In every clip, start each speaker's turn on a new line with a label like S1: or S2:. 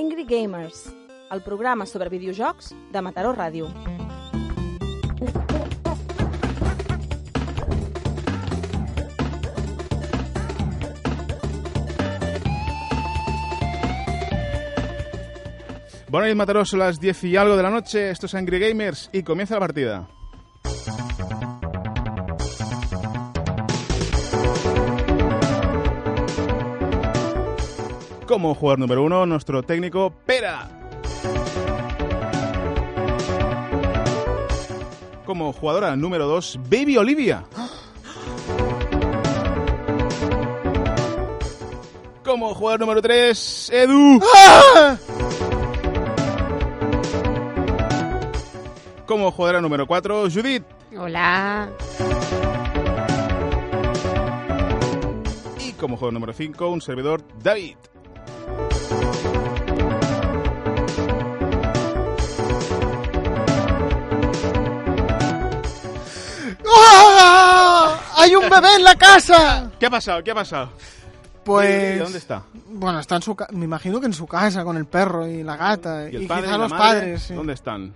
S1: Angry Gamers, el programa sobre videojocs de Mataró Ràdio.
S2: Bueno, y Mataró, son las 10 y algo de la noche. Esto es Angry Gamers y comienza la partida. Como jugador número uno, nuestro técnico Pera. Como jugadora número 2, Baby Olivia. Como jugador número 3, Edu. Como jugadora número 4, Judith.
S3: Hola.
S2: Y como jugador número 5, un servidor, David.
S4: ¡Ah! ¡Hay un bebé en la casa!
S2: ¿Qué ha pasado? ¿Qué ha pasado?
S4: Pues.
S2: ¿Y ¿Dónde está?
S4: Bueno, está en su ca- me imagino que en su casa con el perro y la gata y,
S2: el
S4: quizá
S2: padre la
S4: los
S2: madre?
S4: padres. sí.
S2: ¿Dónde están?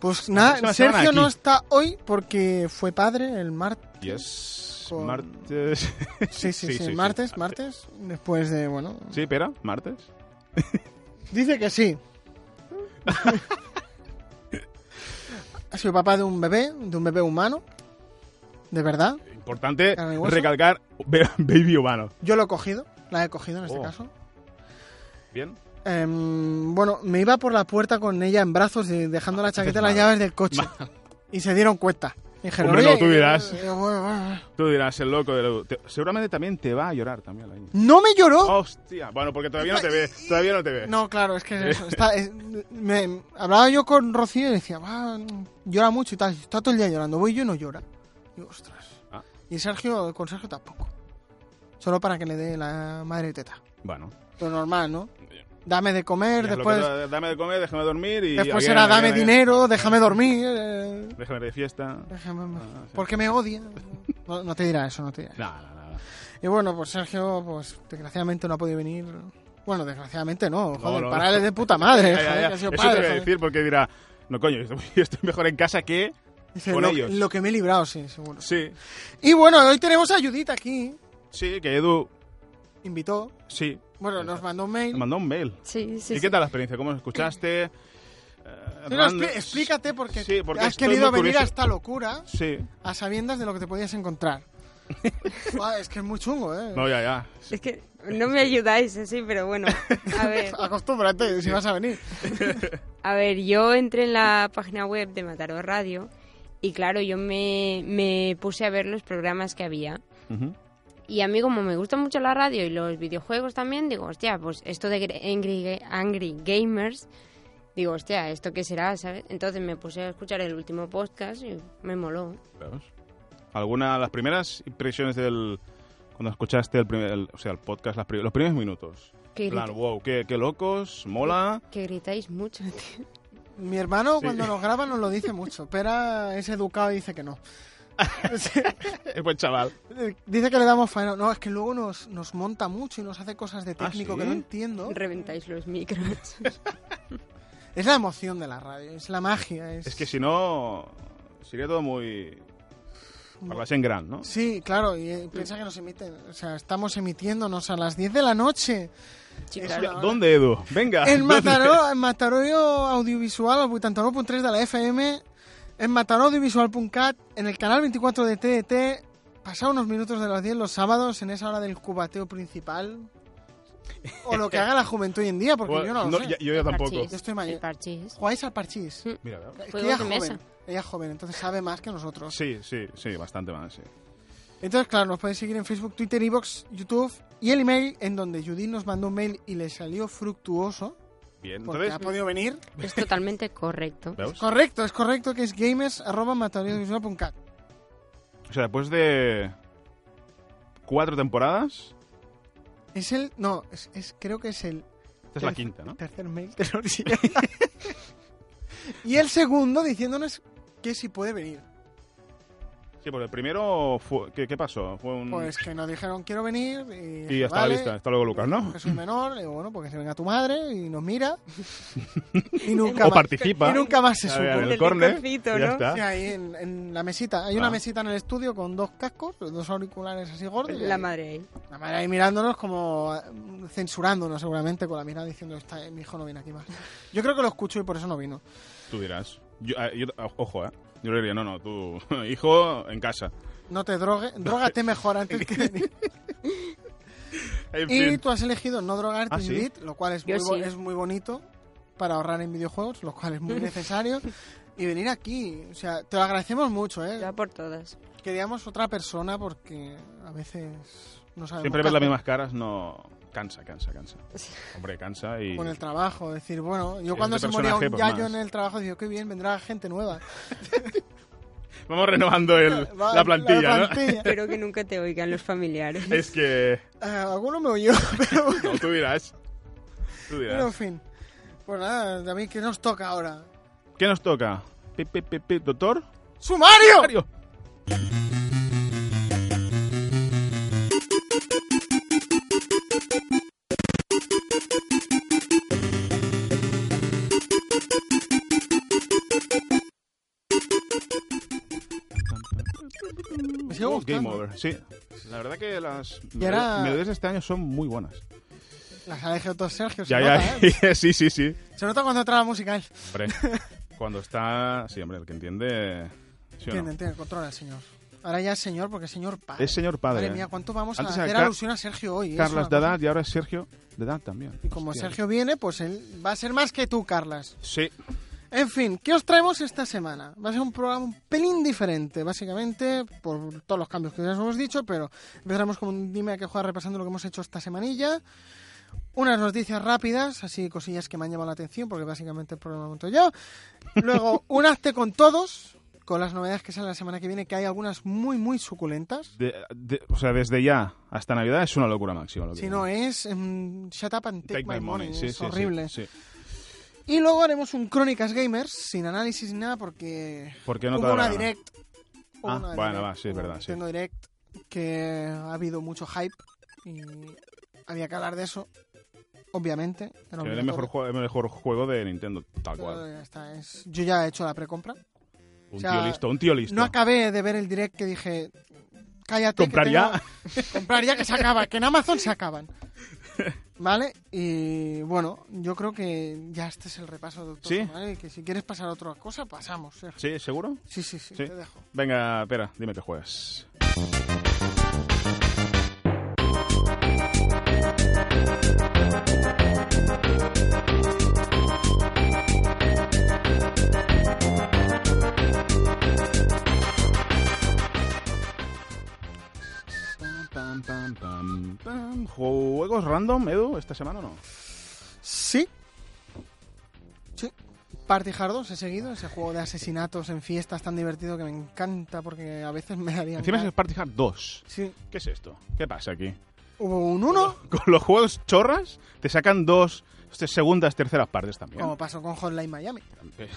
S4: Pues
S2: Próxima
S4: nada,
S2: semana
S4: Sergio no
S2: aquí.
S4: está hoy porque fue padre el martes.
S2: Yes.
S4: Con-
S2: Martes.
S4: Sí, sí, sí, el martes, martes, después de, bueno.
S2: Sí, espera, martes.
S4: Dice que sí. ha sido papá de un bebé, de un bebé humano. De verdad.
S2: Importante
S4: Carne y hueso.
S2: recalcar be- baby humano.
S4: Yo lo he cogido, la he cogido en este
S2: Oh.
S4: caso.
S2: Bien.
S4: Em, bueno, me iba por la puerta con ella en brazos y dejando
S2: Ah,
S4: la chaqueta y las
S2: mal.
S4: llaves del coche. Y se dieron cuenta. Dijeron,
S2: Hombre, no,
S4: "Oye",
S2: tú dirás.
S4: y yo, "Bueno, bueno".
S2: Tú dirás, el loco de lo- te- Seguramente también te va a llorar también la niña.
S4: No me
S2: Ah,
S4: lloró.
S2: Hostia. Bueno, porque todavía no te ve. Todavía no te ve.
S4: No, claro, es que es eso. Está, es- me- hablaba yo con Rocío y decía, "Va, llora mucho y tal. Está todo el día llorando. Voy yo y no llora. Y yo, ostras.
S2: Ah.
S4: Y Sergio, con Sergio tampoco. Solo para que le dé la madre teta.
S2: Bueno.
S4: Lo normal, ¿no? Dame de comer,
S2: Ya es lo que
S4: después,
S2: te- dame de comer, déjame dormir y.
S4: después
S2: again,
S4: era dame
S2: again, again.
S4: dinero, déjame dormir. eh,
S2: Déjame ir de fiesta.
S4: Déjame-
S2: Ah, sí.
S4: Porque me odia. No, no te dirá eso, no te dirá.
S2: Nada, nada, nada.
S4: Y bueno, pues Sergio, pues desgraciadamente no ha podido venir. Bueno, desgraciadamente no, joder,
S2: no,
S4: para él
S2: no.
S4: es de puta madre,
S2: Ya, ya,
S4: joder,
S2: ya.
S4: que ha sido
S2: Eso
S4: padre,
S2: te voy a
S4: joder.
S2: decir porque dirá, no coño, yo estoy mejor en casa que
S4: Dice,
S2: con
S4: lo,
S2: ellos.
S4: lo que me he librado, sí, seguro.
S2: Sí,
S4: Y bueno, hoy tenemos a Judith aquí,
S2: sí, que Edu,
S4: invitó,
S2: sí,
S4: bueno, nos mandó un mail.
S2: me mandó un mail.
S3: Sí, sí.
S2: ¿Y
S3: sí.
S2: qué tal la experiencia? ¿Cómo escuchaste? Eh,
S4: No, no,
S2: Hernando-
S4: expli- explícate porque,
S2: Sí, porque
S4: has
S2: estoy
S4: querido
S2: muy
S4: venir
S2: curioso.
S4: a esta locura
S2: Sí,
S4: a sabiendas de lo que te podías encontrar. Buah, es que es muy chungo, ¿eh?
S2: no, ya, ya.
S3: Es que no me ayudáis así, pero bueno. A ver,
S4: Acostúmbrate si vas a venir.
S3: a ver, yo entré en la página web de Mataró Radio y claro, yo me, me puse a ver los programas que había.
S2: Ujú.
S3: Y a mí como me gusta mucho la radio y los videojuegos también, digo, hostia, pues esto de gre- Angry, Ga- Angry Gamers, digo, hostia, ¿esto qué será? ¿Sabes? Entonces me puse a escuchar el último podcast y me moló.
S2: Vamos. ¿Alguna de las primeras impresiones del... Cuando escuchaste el, primer, el- o sea, el podcast, las pri- los primeros minutos?
S3: Que,
S2: En plan,
S3: grita-
S2: wow, qué, qué locos, mola.
S3: que gritáis mucho, tío.
S4: Mi hermano
S2: Sí.
S4: cuando nos graba nos lo dice mucho, pero es educado y dice que no.
S2: Es buen chaval.
S4: dice que le damos faena. No, es que luego nos, nos monta mucho y nos hace cosas de
S2: ¿Ah,
S4: técnico
S2: sí?
S4: que no entiendo.
S3: Reventáis los micros.
S4: Es la emoción de la radio, es la magia. Es,
S2: Es que si no, sería todo muy... Hablas en gran, ¿no?
S4: Sí, claro, y eh, piensa que nos emiten. O sea, estamos emitiéndonos a las 10 de la noche.
S3: Sí,
S4: Es
S3: claro.
S4: una hora.
S2: ¿Dónde, Edu? Venga.
S4: En
S2: ¿dónde?
S4: Mataró, en Mataró Audiovisual, al 89.3 de la FM, en mataroaudiovisual.cat, en el canal 24 de TDT, pasado unos minutos de las 10 los sábados, en esa hora del cubateo principal. O lo que haga la juventud hoy en día, porque
S2: Bueno,
S4: yo no lo
S2: no,
S4: sé.
S2: ya- yo ya tampoco.
S3: Parchís.
S4: Yo estoy mayor.
S3: El parchís.
S4: ¿Jugáis al parchís?
S2: Mira, veo.
S4: Es que
S3: Mm, Juegos
S4: ya
S3: de
S4: joven.
S3: mesa.
S4: Ella es joven, entonces sabe más que nosotros.
S2: Sí, sí, sí, bastante más, sí.
S4: Entonces, claro, nos podéis seguir en Facebook, Twitter, Evox, YouTube y el email en donde Judith nos mandó un mail y le salió fructuoso.
S2: Bien,
S4: Porque
S2: entonces,
S4: ha podido venir.
S3: Es totalmente correcto.
S2: ¿veos?
S4: Correcto, es correcto que es gamers.matauriosvisual.cat.
S2: O sea, después de cuatro temporadas,
S4: Es el. No, es, es- creo que es el
S2: esta es la quinta, ¿no?
S4: tercer mail que nos llega. y el segundo diciéndonos que si puede venir.
S2: Sí, porque el primero, fue, ¿qué, qué pasó? Fue un...
S4: Pues que nos dijeron quiero venir. Y,
S2: y
S4: dije,
S2: Mm. ya estaba
S4: "Vale".
S2: lista, hasta luego Lucas, ¿no?
S4: Es un menor, le digo, bueno, porque se venga tu madre y nos mira. y nunca
S2: O
S4: más.
S2: participa.
S4: Y nunca más se
S2: A ver, a ver,
S4: supo.
S2: el
S1: Del
S2: córner, y
S1: rinconcito,
S2: ya
S1: ¿no?
S4: Sí,
S2: está.
S4: ahí en, en la mesita. Hay una
S2: Ah.
S4: mesita en el estudio con dos cascos, dos auriculares así gordos. y
S1: La
S4: ahí-
S1: madre ahí.
S4: la madre ahí mirándonos como eh, censurándonos seguramente con la mirada diciendo, Está, mi hijo no viene aquí más. Yo creo que lo escucho y por eso no vino.
S2: Tú dirás. Yo, ah, yo- ah, ojo, ¿eh? Yo le diría, no, no, tú, hijo, en casa.
S4: No te drogues, drógate mejor antes que venir.
S2: En
S4: Y
S2: fin.
S4: tú has elegido no drogarte,
S2: Ah, ¿sí?
S4: Judith, lo cual es
S3: Yo
S4: muy, bo-
S3: sí.
S4: es muy bonito para ahorrar en videojuegos, lo cual es muy necesario. y venir aquí, o sea, te lo agradecemos mucho, ¿eh?
S3: Ya por todas.
S4: Queríamos otra persona porque a veces no sabemos.
S2: Siempre
S4: qué
S2: ves las
S4: hacer
S2: mismas caras, no... Cansa, cansa, cansa. Hombre, cansa y...
S4: Con el trabajo, decir, bueno, yo
S2: Este
S4: cuando se moría
S2: personaje,
S4: un
S2: pues,
S4: yayo
S2: más.
S4: en el trabajo, digo, qué bien, vendrá gente nueva.
S2: Vamos renovando el,
S4: Va-
S2: la plantilla,
S4: la
S2: ¿no?
S4: plantilla.
S3: Espero que nunca te oigan los familiares.
S2: Es que...
S4: Ah, alguno me oyó, pero bueno,
S2: No, tú dirás. Tú
S4: pero en
S2: dirás.
S4: fin. Pues nada, David, ¿qué nos toca ahora?
S2: ¿Qué nos toca? Pip, pip, pip, pip, ¿Doctor?
S4: ¡Sumario!
S2: Mario.
S4: Me sigue gustando.
S2: Game Over, sí. La verdad que las
S4: Y ahora-
S2: melodías de este año son muy buenas.
S4: Las ha dejado todos Sergio.
S2: Ya,
S4: se,
S2: ya,
S4: Nota, ¿eh?
S2: sí, sí, sí.
S4: se nota cuando entra la musical.
S2: Hombre, cuando está... Sí, hombre, el que entiende... ¿sí o no?
S4: Entiende, entiende, controla el señor. Ahora ya es señor, porque es señor padre.
S2: Es señor padre. ¿eh?
S4: Madre mía, ¿cuánto vamos
S2: Antes
S4: a
S2: era
S4: hacer
S2: Car-
S4: alusión a Sergio hoy? eh? Es
S2: Carlas
S4: una
S2: de
S4: cosa-
S2: edad y ahora es Sergio de edad también.
S4: Y como
S2: Hostia.
S4: Sergio viene, pues él va a ser más que tú, Carlas.
S2: Sí.
S4: En fin, ¿qué os traemos esta semana? Va a ser un programa un pelín diferente, básicamente, por todos los cambios que ya os hemos dicho, pero empezaremos con un dime a qué juega repasando lo que hemos hecho esta semanilla. Unas noticias rápidas, así cosillas que me han llamado la atención, porque básicamente el programa lo monto yo. Luego, un hazte con todos, con las novedades que salen la semana que viene, que hay algunas muy, muy suculentas.
S2: De- de- o sea, desde ya hasta Navidad es una locura máxima. Lo que
S4: Si no es mm, Shut Up and Take, My, Money,
S2: sí,
S4: es
S2: sí, sí,
S4: horrible.
S2: sí.
S4: Y luego haremos un Crónicas Gamers, sin análisis ni nada, porque
S2: ¿Por qué no te
S4: hubo
S2: da la
S4: una
S2: gana?
S4: direct. hubo
S2: Ah,
S4: una
S2: bueno,
S4: direct,
S2: va, sí, es
S4: hubo
S2: verdad,
S4: una
S2: sí.
S4: Nintendo Direct que ha habido mucho hype y había que hablar de eso, obviamente. era
S2: Que es
S4: obligatorio.
S2: el mejor, juego, el mejor juego de Nintendo, tal
S4: Pero
S2: cual.
S4: ya está, es- Yo ya he hecho la precompra.
S2: Un
S4: o sea,
S2: tío listo, un tío listo.
S4: No acabé de ver el direct que dije, cállate.
S2: Comprar
S4: que
S2: ya.
S4: tengo- comprar ya que se acaba, que en Amazon se acaban. ¿Vale? Y bueno, yo creo que ya este es el repaso, doctor.
S2: ¿Sí?
S4: Sumario, y que si quieres pasar a otra cosa, pasamos. Sergio.
S2: ¿Sí, seguro?
S4: Sí, sí, sí,
S2: Sí.
S4: te dejo.
S2: Venga, espera, dime que juegas. Pam, pam, pam, pam. ¿Juegos random, Edu, esta semana o no?
S4: Sí. Sí. Party Hard 2 he seguido, ese juego de asesinatos en fiestas tan divertido que me encanta porque a veces me darían...
S2: Encima es el
S4: ganas.
S2: Party Hard 2.
S4: Sí.
S2: ¿Qué es esto? ¿Qué pasa aquí?
S4: Hubo un 1,
S2: con los juegos chorras te sacan dos este, segundas, terceras partes también.
S4: como pasó con Hotline Miami,
S2: Es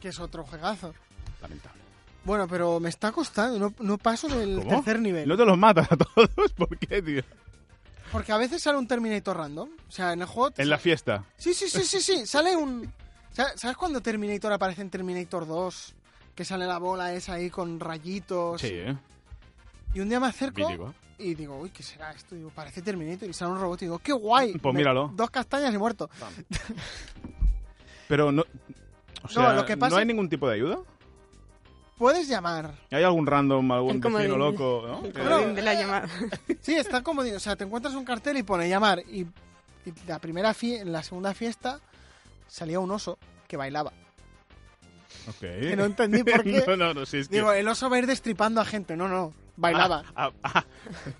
S4: que es otro juegazo.
S2: lamentable.
S4: Bueno, pero me está costando, no, no paso del
S2: ¿Cómo?
S4: tercer nivel.
S2: No te los matas a todos, ¿por qué, tío?
S4: Porque a veces sale un Terminator random. O sea, en el juego... te
S2: En la fiesta.
S4: Sí, sí, sí, sí, sí. Sale un. ¿Sabes sabes cuando Terminator aparece en Terminator 2? Que sale la bola esa ahí con rayitos.
S2: Sí, ¿eh?
S4: Y un día me acerco
S2: Mítico.
S4: y digo, uy, ¿qué será esto? Y digo, parece Terminator y sale un robot y digo, ¡qué guay!
S2: Pues
S4: Me-
S2: míralo.
S4: Dos castañas y muerto.
S2: Pero no. O sea, no,
S4: lo que pasa-
S2: hay ningún tipo de ayuda.
S4: Puedes llamar.
S2: ¿Hay algún random, algún
S3: El comodín.
S2: vecino loco? ¿no? Eh,
S3: El
S4: Claro.
S3: comodín de la llamada.
S4: Sí, está como digo, o sea, te encuentras un cartel y pone llamar. Y, y la primera fie- en la segunda fiesta salía un oso que bailaba.
S2: Ok.
S4: Que no entendí por qué.
S2: no, no, no, sí, es que-
S4: Digo, el oso va a ir destripando a gente. No, no, bailaba.
S2: Ah, ah, ah.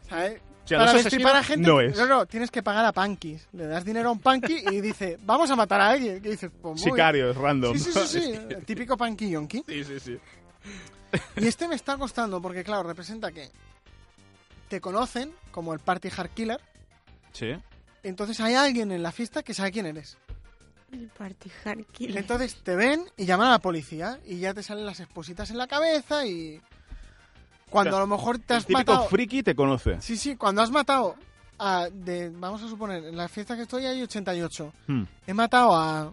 S4: ¿sabes?
S2: O sea,
S4: Para
S2: los
S4: destripar a
S2: asesinos
S4: gente.
S2: no es.
S4: no, tienes que pagar a Punkis. Le das dinero a un Punky y dice, vamos a matar a alguien. Y dices, pues muy
S2: Sicarios, random.
S4: Sí, sí,
S2: ¿no?
S4: sí, sí.
S2: Es que-
S4: El típico Punky Yonki.
S2: sí, sí, sí.
S4: Y este me está costando porque, claro, representa que te conocen como el Party Hard Killer.
S2: Sí.
S4: Entonces hay alguien en la fiesta que sabe quién eres.
S3: El party hard killer.
S4: Entonces te ven y llaman a la policía y ya te salen las espositas en la cabeza y... Cuando
S2: O
S4: a
S2: sea,
S4: lo mejor te
S2: El
S4: has
S2: típico
S4: matado...
S2: friki te conoce.
S4: Sí, sí, cuando has matado a... de- vamos a suponer, en la fiesta que estoy hay 88.
S2: Hmm.
S4: He matado a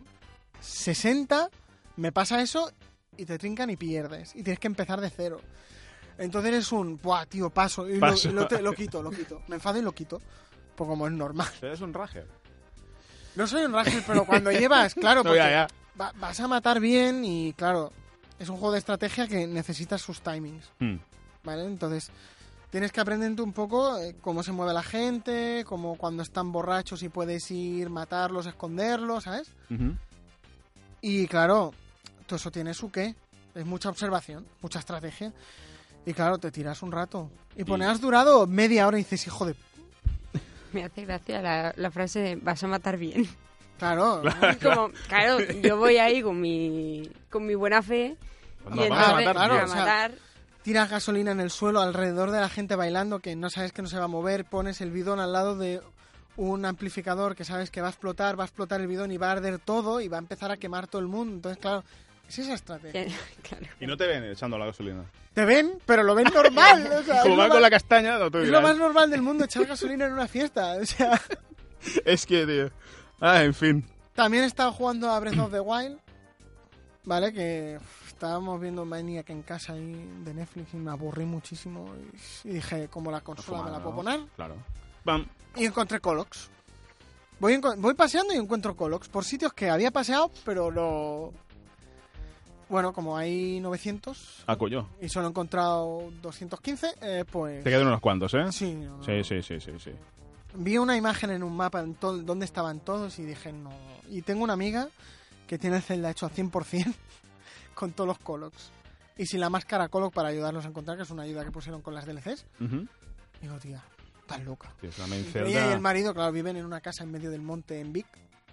S4: 60, me pasa eso y te trincan y pierdes. Y tienes que empezar de cero. Entonces es un, buah, tío, paso. Y lo-
S2: Paso.
S4: Lo, te- lo quito, lo quito. Me enfado y lo quito. Pues como es normal.
S2: Eres un rager.
S4: No soy un ranger, pero cuando llevas, claro,
S2: No,
S4: porque
S2: ya, ya.
S4: va- vas a matar bien y claro, es un juego de estrategia que necesita sus timings.
S2: Hmm.
S4: ¿vale? Entonces, tienes que aprenderte un poco eh, cómo se mueve la gente, cómo cuando están borrachos y puedes ir, matarlos, esconderlos, ¿sabes?
S2: Ujú.
S4: Y claro, todo eso tiene su qué. Es mucha observación, mucha estrategia. Y claro, te tiras un rato. Y pones, has durado media hora y dices, hijo de... p-".
S3: Me hace gracia la, la frase de vas a matar bien.
S4: Claro,
S3: Es como, Ah, claro, yo voy ahí con mi, con mi buena fe.
S2: Pues
S3: y
S2: no,
S4: Bien,
S2: vamos a
S4: a ver,
S2: matar,
S4: claro,
S2: tío.
S4: o sea, tiras gasolina en el suelo alrededor de la gente bailando que no sabes que no se va a mover, pones el bidón al lado de un amplificador que sabes que va a explotar, va a explotar el bidón y va a arder todo y va a empezar a quemar todo el mundo. Entonces, claro, es esa estrategia.
S3: claro.
S2: Y no te ven echando la gasolina.
S4: Te ven, pero lo ven normal. o sea, es
S2: Como
S4: lo
S2: va
S4: más-
S2: con la castaña, no te
S4: es lo
S2: dirás.
S4: más normal del mundo echar gasolina en una fiesta. O sea,
S2: Es que, tío. Ah, en fin.
S4: También estaba jugando a Breath of the Wild, ¿vale? Que uf, estábamos viendo Maniac en casa ahí de Netflix y me aburrí muchísimo. Y, y dije, como la consola Pues me la puedo poner.
S2: Claro. Pam.
S4: Y encontré Colox. Voy, enco- voy paseando y encuentro Colox por sitios que había paseado, pero no... Bueno, como hay 900
S2: Ah, coño.
S4: y solo he encontrado 215, eh, pues...
S2: Te quedan unos cuantos, ¿eh?
S4: Sí, no,
S2: Sí, sí, sí, sí, sí.
S4: vi una imagen en un mapa en to- donde estaban todos y dije no. Y tengo una amiga que tiene el Zelda hecho al 100% con todos los Colox. Y sin la máscara Colox para ayudarlos a encontrar, que es una ayuda que pusieron con las DLCs.
S2: Ujú.
S4: Digo, tía, estás loca.
S2: Tío, es una main
S4: Y
S2: Zelda.
S4: ella y el marido, claro, viven en una casa en medio del monte en Vic,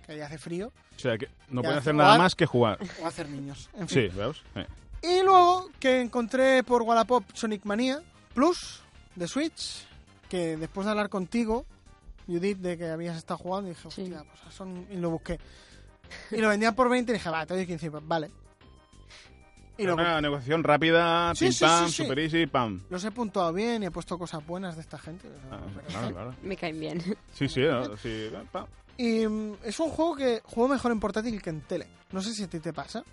S4: que ahí hace frío,
S2: O sea, que no
S4: Ya,
S2: pueden hacer
S4: jugar.
S2: nada más que jugar.
S4: o hacer niños. En fin.
S2: Sí, ¿veos? Eh.
S4: Y luego que encontré por Wallapop Sonic Mania Plus de Switch, que después de hablar contigo, Judith, de que habías estado jugando, dije,
S3: Sí.
S4: hostia, pues a Sonic", y lo busqué. Y lo vendían por 20 y dije, va, te doy 15, pues, vale. Y lo,
S2: Una Ah, negociación rápida,
S4: Sí,
S2: pim
S4: sí,
S2: pam,
S4: sí, sí.
S2: super easy, pam.
S4: los he puntuado bien y he puesto cosas buenas de esta gente.
S2: Ah,
S4: Pero-
S2: claro, claro.
S3: Me caen bien.
S2: Sí, sí, ¿no? sí. pam.
S4: Y mm, es un juego que juego mejor en portátil que en tele. No sé si a ti te pasa.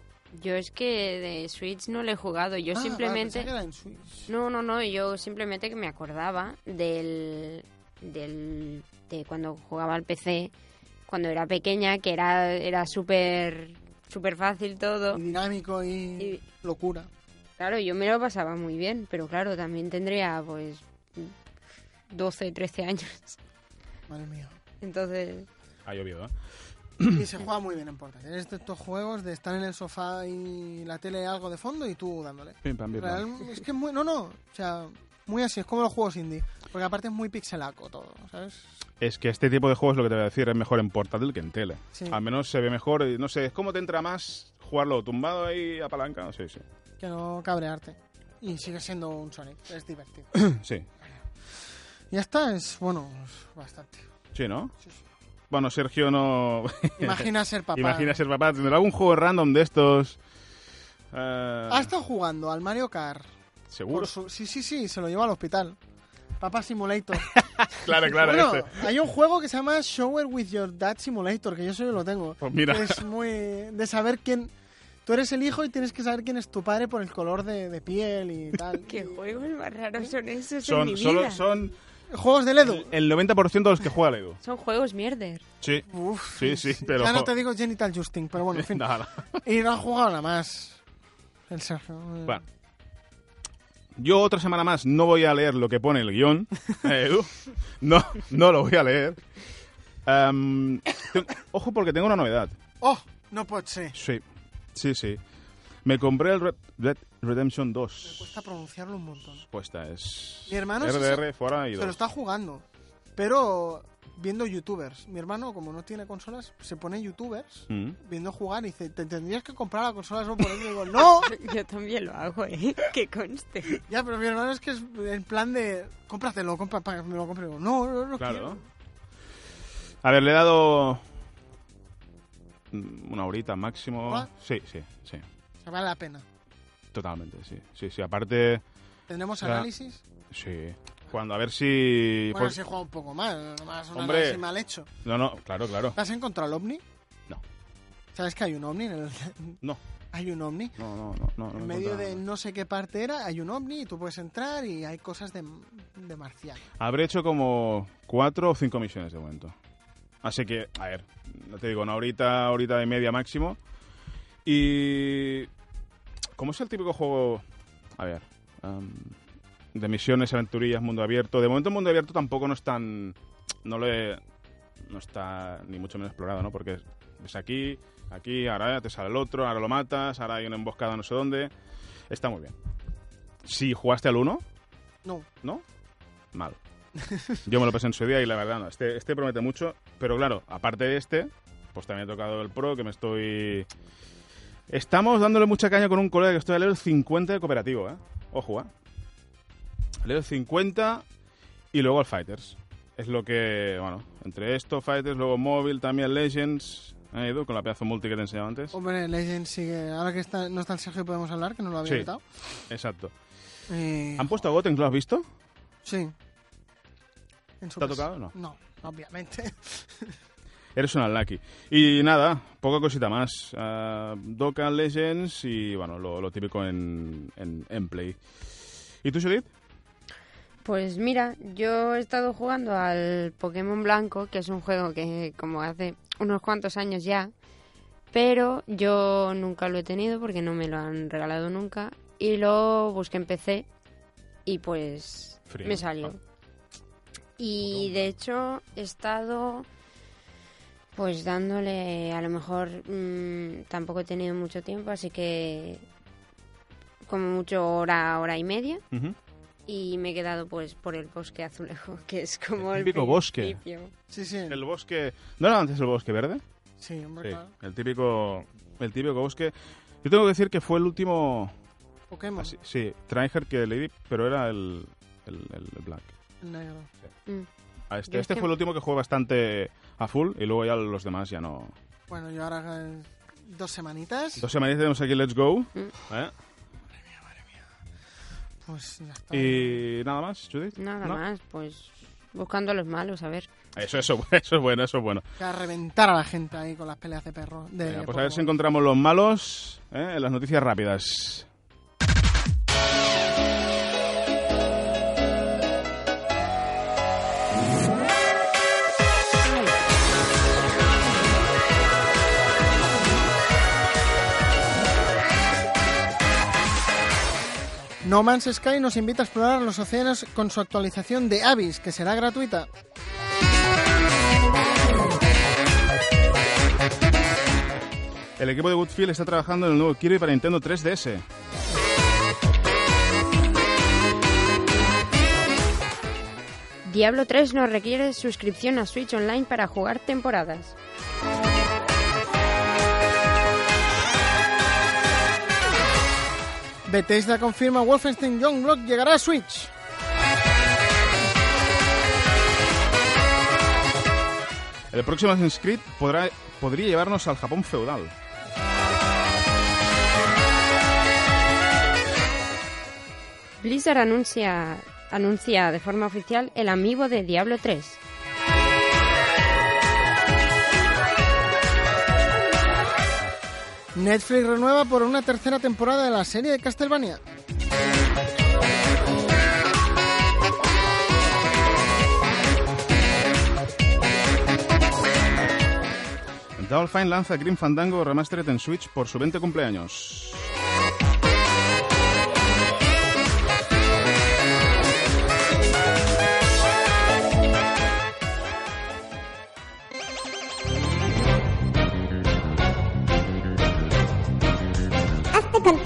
S3: Yo es que de Switch no le he jugado. Yo
S4: Ah, vale,
S3: simplemente...
S4: pensaba que era en Switch.
S3: No, no, no, yo simplemente que me acordaba del, del de cuando jugaba al PC, cuando era pequeña, que era era súper súper fácil todo.
S4: Y dinámico y,
S3: Y-
S4: locura.
S3: Claro, yo me lo pasaba muy bien, pero claro, también tendría pues 12, 13 años.
S4: Madre mía.
S3: Entonces,
S2: Ha llovido, ¿eh?
S4: Y se juega muy bien en portátil. Es de estos juegos de estar en el sofá y la tele algo de fondo y tú dándole.
S2: Pim pam, pim pam.
S4: Real- es que es muy. No, no. O sea, muy así. Es como los juegos indie. Porque aparte es muy pixelaco todo, ¿sabes?
S2: Es que este tipo de juegos, lo que te voy a decir, es mejor en portátil que en tele.
S4: Sí.
S2: Al menos se ve mejor, y no sé, es como te entra más jugarlo tumbado ahí apalancado. Sí, sí.
S4: Que no cabrearte. Y sigue siendo un Sonic. Es divertido.
S2: Sí,
S4: ya está. Es, bueno, es bastante.
S2: sí, ¿no?
S4: Sí, sí.
S2: Bueno, Sergio no.
S4: Imagina ser papá.
S2: Imagina ser papá. ¿Tendrá algún juego random de estos? Eh,
S4: Ha estado jugando al Mario Kart.
S2: Seguro.
S4: Por su- Sí, sí, sí. Se lo lleva al hospital. Papá Simulator.
S2: Claro, claro.
S4: Bueno,
S2: este.
S4: hay un juego que se llama Shower with Your Dad Simulator, que yo solo lo tengo.
S2: Pues mira.
S4: Es muy de saber quién... Tú eres el hijo y tienes que saber quién es tu padre por el color de, de piel y tal.
S3: qué juegos más raros son esos en mi
S2: Son, solo,
S3: vida?
S2: son
S4: Juegos de Ledo.
S2: el 90% de los que juega Lego.
S3: Son juegos mierder.
S2: Sí.
S4: Uf,
S2: Sí, sí, pero-
S4: Ya no te digo Genital Justin, pero bueno, en fin.
S2: Nada.
S4: Y no han jugado nada más. El Sergio.
S2: Bueno. Yo otra semana más no voy a leer lo que pone el guión. eh, Edu. No, no lo voy a leer. Em, Am, ten- ojo porque tengo una novedad.
S4: ¡Oh! No puede ser.
S2: Sí, sí, sí. Me compré el Red Dead Redemption 2.
S4: Me cuesta pronunciarlo un montón.
S2: Respuesta es.
S4: Mi hermano se-
S2: RDR fuera y
S4: Se lo
S2: dos.
S4: está jugando. Pero viendo youtubers. Mi hermano, como no tiene consolas, se pone youtubers
S2: Mm.
S4: viendo jugar y dice, te tendrías que comprar la consola solo por él. Y digo, no.
S3: Yo también lo hago, ¿eh? Que conste.
S4: Ya, pero mi hermano es que es en plan de, cómpratelo, compra, para que me lo compre. Y digo, no, no, no
S2: Claro.
S4: quiero".
S2: ¿no? A ver, le he dado. mm, Una horita máximo.
S4: ¿Hola?
S2: Sí, sí, sí.
S4: O sea, vale la pena.
S2: Totalmente, sí. Sí, sí. Aparte,
S4: ¿Tendremos
S2: Ya.
S4: análisis?
S2: sí. Cuando a ver si.
S4: bueno,
S2: por-
S4: si he jugado un poco más, más un
S2: Hombre.
S4: análisis mal hecho.
S2: No, no, claro, claro.
S4: ¿Te has encontrado el ovni?
S2: No.
S4: ¿Sabes que hay un ovni en el...
S2: No,
S4: Hay un ovni.
S2: no, no, no. no, no
S4: En
S2: me
S4: medio
S2: encontraba
S4: de
S2: nada.
S4: no sé qué parte era, hay un ovni y tú puedes entrar y hay cosas de, de marcial.
S2: Habré hecho como cuatro o cinco misiones de momento. Así que, a ver, no te digo, una horita, horita y media máximo. Y. Como es el típico juego. A ver. am, de misiones, aventurillas, mundo abierto. De momento, el mundo abierto tampoco no es tan. No lo he- No está ni mucho menos explorado, ¿no? Porque ves aquí, aquí, ahora te sale el otro, ahora lo matas, ahora hay una emboscada no sé dónde. Está muy bien. Si jugaste al 1,
S4: No,
S2: ¿no? Mal. Yo me lo pasé en su día y la verdad no. Este, este promete mucho, pero claro, aparte de este, pues también he tocado el Pro, que me estoy... Estamos dándole mucha caña con un colega que estoy a level 50 de cooperativo, ¿eh? Ojo, ¿eh? Level 50 y luego al Fighters. Es lo que, bueno, entre esto, Fighters, luego móvil, también Legends, ¿eh, Edu? Con la pedazo multi que te enseñaba antes.
S4: Hombre, Legend sigue. Ahora que está, no está el Sergio, podemos hablar, que no lo había
S2: Sí.
S4: invitado.
S2: Exacto.
S4: Eh,
S2: ¿Han puesto a Goten, lo has visto?
S4: sí. En su
S2: ¿Te ha
S4: pres-
S2: tocado o no?
S4: No, obviamente.
S2: Eres un unlucky. Y nada, poca cosita más. Ah, Dokkan Legends y bueno, lo, lo típico en, en, en Play. ¿Y tú, Solid?
S3: Pues mira, yo he estado jugando al Pokémon Blanco, que es un juego que como hace unos cuantos años ya, pero yo nunca lo he tenido porque no me lo han regalado nunca y lo busqué en PC y pues
S2: Frío.
S3: me salió. Y de hecho he estado pues dándole, a lo mejor mm, tampoco he tenido mucho tiempo, así que como mucho hora, hora y media y me he quedado pues por el bosque azulejo, que es como
S2: El
S3: el,
S2: típico bosque.
S3: principio.
S4: Sí, sí.
S2: El bosque... ¿No era antes el bosque verde?
S4: Sí, hombre, claro.
S2: El típico, el típico bosque... Yo tengo que decir que fue el último...
S4: Pokémon,
S2: así- sí, Tryhard que le di, pero era el, el, el- el Black.
S4: el negro.
S3: Mm.
S2: A este
S3: Yo es
S2: este
S3: que-
S2: fue el último que jugué bastante a full y luego ya los demás ya no...
S4: Bueno, yo ahora eh, dos semanitas.
S2: Dos semanas tenemos aquí Let's Go.
S3: Mm.
S2: ¿eh?
S4: Pues ya está.
S2: Y nada más, Judith.
S3: Nada
S2: ¿No?
S3: más, pues buscando a los malos, a ver.
S2: Eso, eso, eso es bueno, eso es bueno.
S4: Que a reventar a la gente ahí con las peleas de perro. De
S2: Venga, pues a
S4: Pokémon.
S2: ver si encontramos los malos ¿eh? en las noticias rápidas.
S4: No Man's Sky nos invita a explorar los océanos con su actualización de Abyss, que será gratuita.
S2: El equipo de Goodfield está trabajando en el nuevo Kirby para Nintendo 3DS.
S3: Diablo 3 nos requiere suscripción a Switch Online para jugar temporadas.
S4: Bethesda confirma Wolfenstein Youngblood llegará a Switch.
S2: El próximo Assassin's Creed podrá, podría llevarnos al Japón feudal.
S3: Blizzard anuncia, anuncia de forma oficial el amigo de Diablo 3.
S4: Netflix renueva por una tercera temporada de la serie de Castlevania.
S2: Double Fine lanza Green Fandango Remastered en Switch por su 20 cumpleaños.
S5: Hazte con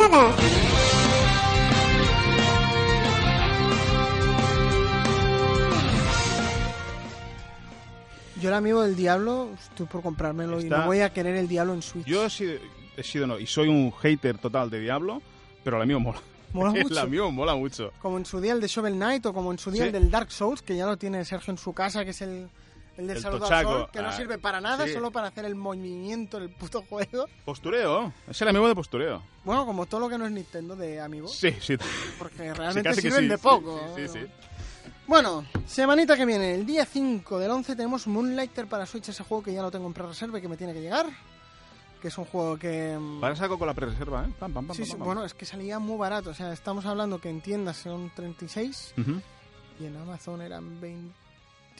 S4: Yo el amigo del diablo, estoy por comprármelo y
S2: Está-
S4: no voy a querer el diablo en Switch.
S2: Yo he sido, he sido no, y soy un hater total de Diablo, pero el amigo mola.
S4: Mola
S2: El
S4: mucho.
S2: amigo mola mucho.
S4: Como en su día el de Shovel Knight o como en su día
S2: Sí.
S4: el del Dark Souls, que ya lo tiene Sergio en su casa, que es el, el del
S2: El
S4: saludo al
S2: tochaco.
S4: sol, que no
S2: Ah,
S4: sirve para nada,
S2: sí.
S4: solo para hacer el movimiento del puto juego.
S2: Postureo, es el amigo de postureo.
S4: Bueno, como todo lo que no es Nintendo de amigos,
S2: Sí, sí.
S4: porque ¿Oh? realmente
S2: casi que
S4: sirven
S2: sí,
S4: de
S2: sí,
S4: poco. ¿eh?
S2: sí, sí, sí.
S4: Bueno, semanita que viene, el día 5 del 11 tenemos Moonlighter para Switch, ese juego que ya lo tengo en pre-reserva y que me tiene que llegar, que es un juego que... mm,
S2: Ahora saco con la pre-reserva, ¿eh? Pam, pam, pam,
S4: Sí,
S2: pam,
S4: sí,
S2: pam.
S4: bueno, es que salía muy barato, o sea, estamos hablando que en tiendas son 36
S2: Ujú.
S4: y en Amazon eran 20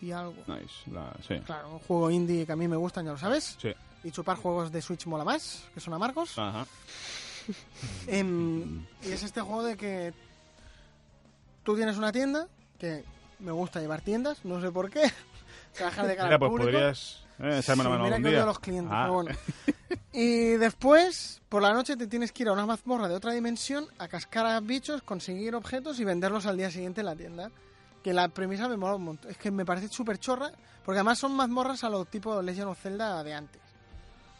S4: y algo.
S2: Nice, la- sí.
S4: Claro, un juego indie que a mí me gustan, ya lo sabes.
S2: Sí.
S4: Y chupar juegos de Switch mola más, que son amargos.
S2: Ajá.
S4: Em, y es este juego de que tú tienes una tienda, que me gusta llevar tiendas, no sé por qué. Trabajar de cara
S2: Mira,
S4: al
S2: pues
S4: público.
S2: podrías eh, echarme la
S4: Sí,
S2: mano
S4: mira
S2: algún
S4: que odio
S2: día.
S4: a los clientes,
S2: Ah,
S4: pero bueno. Y después, por la noche, te tienes que ir a una mazmorra de otra dimensión a cascar a bichos, conseguir objetos y venderlos al día siguiente en la tienda. Que la premisa me mola un montón. Es que me parece súper chorra, porque además son mazmorras a lo tipo Legend of Zelda de antes.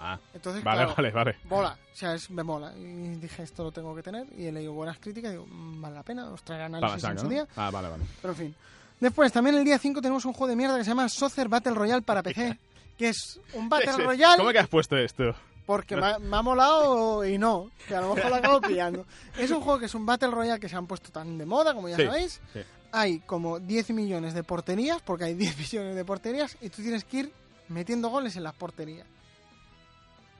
S2: ah.
S4: Entonces,
S2: Vale,
S4: claro,
S2: vale, vale.
S4: mola. O sea, es, me mola. Y dije, esto lo tengo que tener. Y he leído buenas críticas. Digo, mm, vale la pena. Os traeré
S2: Para la
S4: análisis en
S2: saca,
S4: su
S2: ¿no?
S4: día.
S2: Ah, vale, vale.
S4: Pero en fin. Después, también el día 5 tenemos un juego de mierda que se llama Soccer Battle Royale para PC. Que es un Battle
S2: Sí, sí.
S4: Royale
S2: ¿Cómo que has puesto esto?
S4: porque me, ha- me ha molado y no, que a lo mejor lo acabo pillando. Es un juego que es un Battle Royale que se han puesto tan de moda, como ya
S2: Sí,
S4: sabéis.
S2: sí.
S4: Hay como 10 millones de porterías, porque hay 10 millones de porterías, y tú tienes que ir metiendo goles en las porterías.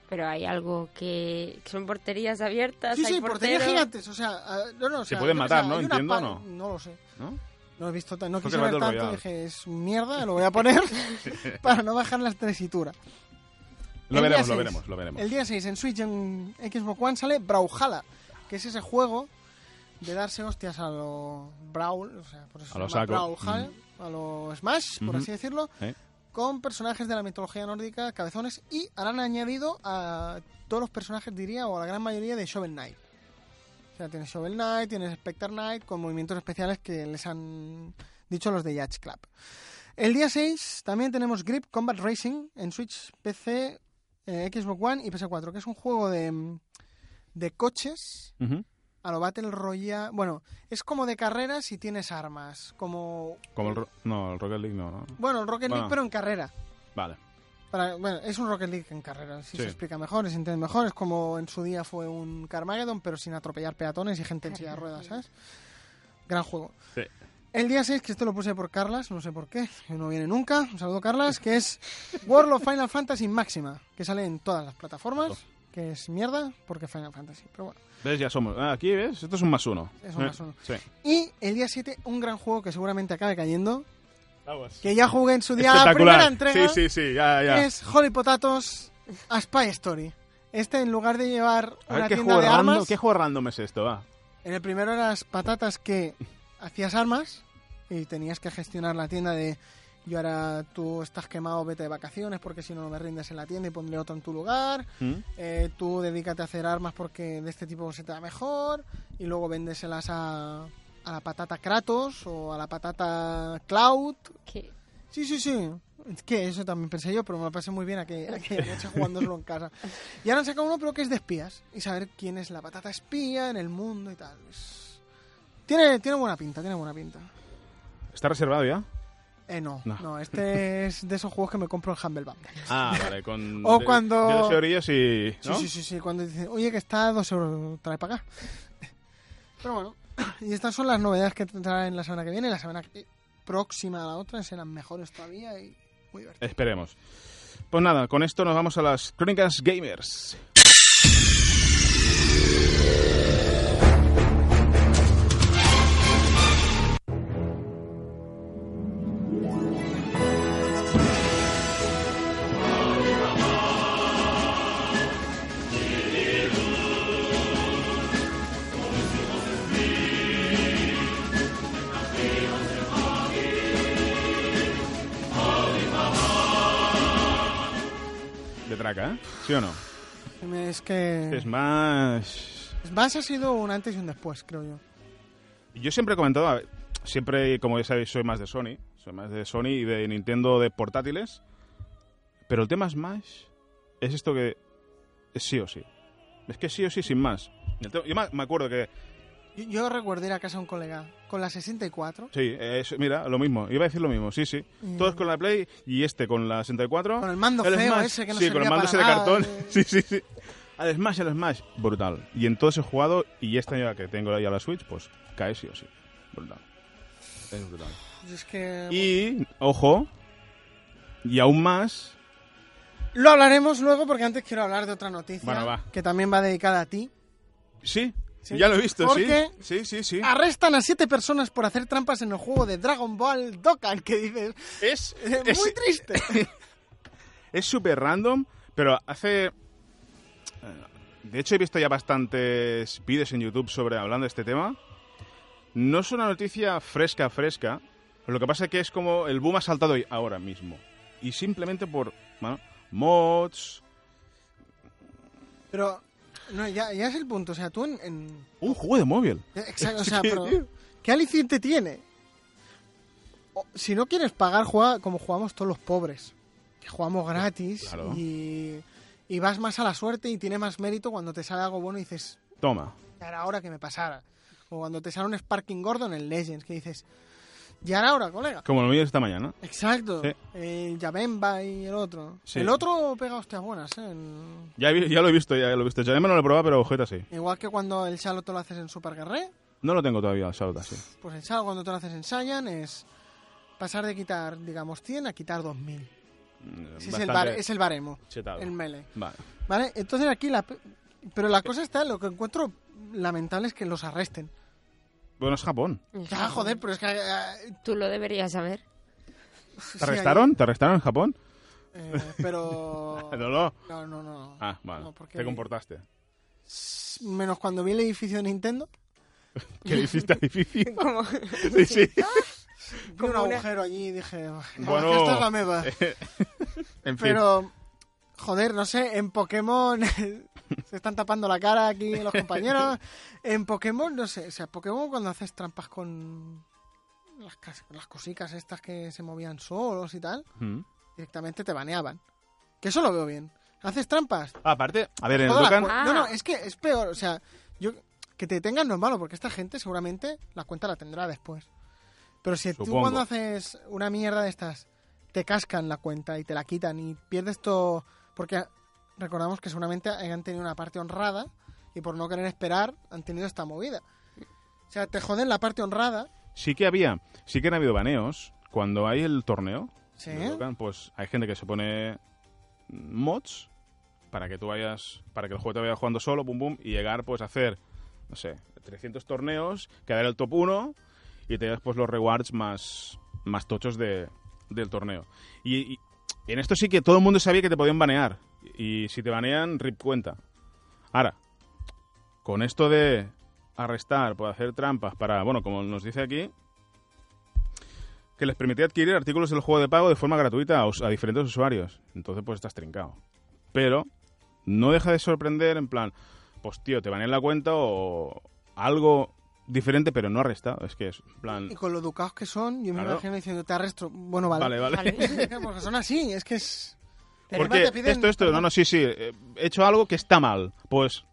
S3: Pero hay algo que, que son porterías abiertas.
S4: sí,
S3: hay
S4: sí, porterías
S3: porteros.
S4: gigantes, o sea, ah, no, no, o
S2: Se
S4: sea,
S2: pueden
S4: yo- o
S2: matar,
S4: sea,
S2: ¿no?
S4: hay una
S2: Entiendo,
S4: pa-
S2: ¿no?
S4: No lo sé.
S2: ¿no?
S4: No he visto tan- no
S2: Creo
S4: quise
S2: que
S4: ver
S2: Battle
S4: tanto,
S2: Royale.
S4: dije, es mierda, lo voy a poner para no bajar las tesituras.
S2: Lo
S4: El día
S2: veremos, lo
S4: seis.
S2: veremos, lo veremos.
S4: El día 6 en Switch y en Xbox One sale Brawlhalla, que es ese juego de darse hostias a lo Brawl, o sea, por eso
S2: A
S4: se
S2: lo
S4: llama
S2: saco.
S4: Brawlhalla, a lo Smash, por
S2: Ujú.
S4: así decirlo,
S2: Sí.
S4: con personajes de la mitología nórdica, cabezones, y ahora han añadido a todos los personajes, diría, o a la gran mayoría de Shovel Knight. O sea, tienes Shovel Knight, tienes Spectre Knight, con movimientos especiales que les han dicho los de Yacht Club. El día 6 también tenemos Grip Combat Racing en Switch, PC, eh, Xbox One y PS4, que es un juego de, mm, de coches
S2: Ujú.
S4: a lo Battle Royale. Bueno, es como de carreras y tienes armas. Como.
S2: Como el... ro- No, el Rocket League no, ¿no?
S4: Bueno, el Rocket League,
S2: Bueno.
S4: pero en carrera.
S2: Vale.
S4: Para- bueno, es un Rocket League en carrera, si
S2: Sí.
S4: se explica mejor, se entiende mejor. Es como en su día fue un Carmageddon, pero sin atropellar peatones y gente en silla de ruedas, ¿sabes? Gran juego.
S2: Sí.
S4: El día 6, que esto lo puse por Carlas, no sé por qué, que no viene nunca. Un saludo, Carlas, que es World of Final Fantasy Máxima, que sale en todas las plataformas, que es mierda, porque Final Fantasy, pero bueno.
S2: ¿Ves? Ya somos. Ah, aquí, ¿ves? Esto es un más uno.
S4: Es un
S2: Eh,
S4: más uno.
S2: Sí.
S4: Y el día 7, un gran juego que seguramente acabe cayendo,
S2: Vamos.
S4: que ya jugué en su día la primera
S2: Espectacular.
S4: entrega.
S2: Sí, sí, sí, ya, ya.
S4: es Holy Potatoes a Spy Story. Este, en lugar de llevar
S2: A
S4: una
S2: ver, ¿qué
S4: tienda
S2: juego,
S4: de
S2: random,
S4: armas,
S2: ¿qué juego random es esto? Va.
S4: en el primero eras patatas que hacías armas y tenías que gestionar la tienda de yo ahora tú estás quemado, vete de vacaciones porque si no, no me rindes en la tienda y pondré otro en tu lugar.
S2: ¿Mm?
S4: Eh, tú dedícate a hacer armas porque de este tipo se te da mejor y luego véndeselas a, a la patata Kratos o a la patata Cloud
S3: Que-
S4: Sí, sí, sí. Es que eso también pensé yo, pero me lo pasé muy bien aquella, aquella noche jugándoslo en casa. Y ahora han sacado uno, pero que es de espías. Y saber quién es la patata espía en el mundo y tal. Es- Tiene, tiene buena pinta, tiene buena pinta.
S2: ¿Está reservado ya?
S4: Eh, no,
S2: No.
S4: no, este es de esos juegos que me compro en Humble Bundle.
S2: Ah, vale, con.
S4: O
S2: de-
S4: cuando-
S2: de dos orillas y.
S4: Sí,
S2: ¿no?
S4: sí, sí, sí, cuando dicen, oye, que está a dos euros, trae para acá. Pero bueno, y estas son las novedades que traen la semana que viene. La semana que- próxima a la otra serán mejores todavía y muy divertidas.
S2: Esperemos. Pues nada, con esto nos vamos a las crónicas gamers. De traca, ¿eh? ¿Sí o no?
S4: Es que...
S2: Es más.
S4: Smash Pues ha sido un antes y un después, creo yo.
S2: Yo siempre he comentado, a ver, siempre, como ya sabéis, soy más de Sony. Soy más de Sony y de Nintendo de portátiles. Pero el tema Smash es esto que es sí o sí. Es que sí o sí, sin más. El tema- Yo me- me acuerdo que
S4: Yo, yo recuerdo ir a casa a un colega con la 64,
S2: Sí, es- mira, lo mismo. Iba a decir lo mismo, sí, sí.
S4: Mm.
S2: Todos con la Play y este con la 64.
S4: con el mando
S2: El
S4: feo
S2: Smash,
S4: ese que no
S2: Sí,
S4: servía
S2: con el mando ese
S4: para
S2: de
S4: nada,
S2: cartón.
S4: eh.
S2: Sí, sí, sí. Al Smash, al Smash. Brutal. Y entonces he jugado y esta ya que tengo ya la Switch, pues cae sí o sí. Brutal. Es brutal.
S4: Pues es que-
S2: Y, ojo, y aún más,
S4: Lo hablaremos luego porque antes quiero hablar de otra noticia
S2: Bueno, va.
S4: que también va dedicada a ti.
S2: sí,
S4: Sí.
S2: ya lo he visto, sí.
S4: Porque-
S2: Sí, sí, sí.
S4: Arrestan a siete personas por hacer trampas en el juego de Dragon Ball Dokkan, que dices,
S2: Es,
S4: eh,
S2: es,
S4: muy triste.
S2: Es súper random, pero hace... eh, De hecho, he visto ya bastantes vídeos en YouTube sobre hablando de este tema. No es una noticia fresca, fresca. Lo que pasa es que es como el boom ha saltado hoy- ahora mismo. Y simplemente por bueno, mods...
S4: Pero no, ya, ya es el punto, o sea, tú en... en-
S2: Un juego de móvil.
S4: exacto, o sea,
S2: Sí,
S4: pero,
S2: tío.
S4: ¿qué aliciente tiene? O- si no quieres pagar, juega como jugamos todos los pobres, que jugamos gratis
S2: Claro.
S4: y, y vas más a la suerte y tiene más mérito cuando te sale algo bueno y dices,
S2: Toma.
S4: ya era hora que me pasara. O cuando te sale un Sparking Gordon en Legends, que dices, ya era hora, colega.
S2: Como lo mío de esta mañana.
S4: Exacto.
S2: Sí.
S4: El Yabemba y el otro.
S2: Sí.
S4: El otro pega hostias buenas, ¿eh? El-
S2: Ya, he vi- ya lo he visto, ya lo he visto. Ya no lo he probado, pero ojeta sí.
S4: Igual que cuando el Charlotte te lo haces en Super Guerrero,
S2: No lo tengo todavía, Shadow sí.
S4: pues el Charlotte cuando te lo haces en Saiyan es pasar de quitar, digamos, 100 a quitar 2000. Ese es el, bare- es el baremo,
S2: chetado.
S4: el melee.
S2: Vale.
S4: ¿Vale? Entonces aquí la... pe- Pero la cosa está, lo que encuentro lamentable es que los arresten.
S2: Bueno, es Japón.
S4: Ya, joder, pero es que... eh,
S3: Tú lo deberías saber.
S4: Pues sí,
S2: ¿Te arrestaron? ¿Te arrestaron en Japón?
S4: hay- eh, pero...
S2: No, no.
S4: No, no, no.
S2: Ah, vale.
S4: No, porque-
S2: Te comportaste.
S4: S- Menos cuando vi el edificio de Nintendo.
S2: Que le hiciste difícil.
S3: Como-
S4: Pues
S2: Sí, sí.
S4: Vi un
S3: Como una-
S4: agujero allí y dije, bueno,
S2: Bueno.
S4: esta es la meba.
S2: En fin.
S4: Pero, joder, no sé, en Pokémon se están tapando la cara aquí los compañeros. En Pokémon, no sé, o sea, Pokémon cuando haces trampas con las, cas- las cosicas estas que se movían solos y tal,
S2: Mm.
S4: directamente te baneaban. Que eso lo veo bien. Haces trampas,
S2: Aparte, a ver, en el
S4: Toda la
S2: Dokkan-
S4: cuen-
S3: Ah.
S4: No, no, es que es peor. O sea, yo que te tengan no es malo, porque esta gente seguramente la cuenta la tendrá después. Pero si tú
S2: Supongo.
S4: cuando haces una mierda de estas, te cascan la cuenta y te la quitan y pierdes todo. Porque recordamos que seguramente han tenido una parte honrada y por no querer esperar han tenido esta movida. O sea, te joden la parte honrada.
S2: sí que había, sí que han habido baneos cuando hay el torneo.
S4: Sí.
S2: del Dokkan, pues hay gente que se pone mods para que tú vayas, para que el juego te vaya jugando solo, pum pum, y llegar pues a hacer, no sé, 300 torneos, quedar en el top 1 y te das pues los rewards más, más tochos de, del torneo. Y, y en esto sí que todo el mundo sabía que te podían banear. Y si te banean, rip cuenta. Ahora, con esto de arrestar por hacer trampas para, bueno, como nos dice aquí, que les permitía adquirir artículos del juego de pago de forma gratuita a, us- a diferentes usuarios. Entonces, pues estás trincado. Pero no deja de sorprender en plan, pues tío, te banean la cuenta o algo diferente, pero no arrestado. Es que es, en plan,
S4: Y con lo educados que son, yo me
S2: Claro.
S4: imagino diciendo, te arresto. Bueno, vale.
S2: vale, vale.
S3: Vale.
S4: porque son así, es que es.
S3: Pero
S2: Porque
S4: además te piden-
S2: esto, esto, no, no, sí, sí, eh, he hecho algo que está mal. Pues,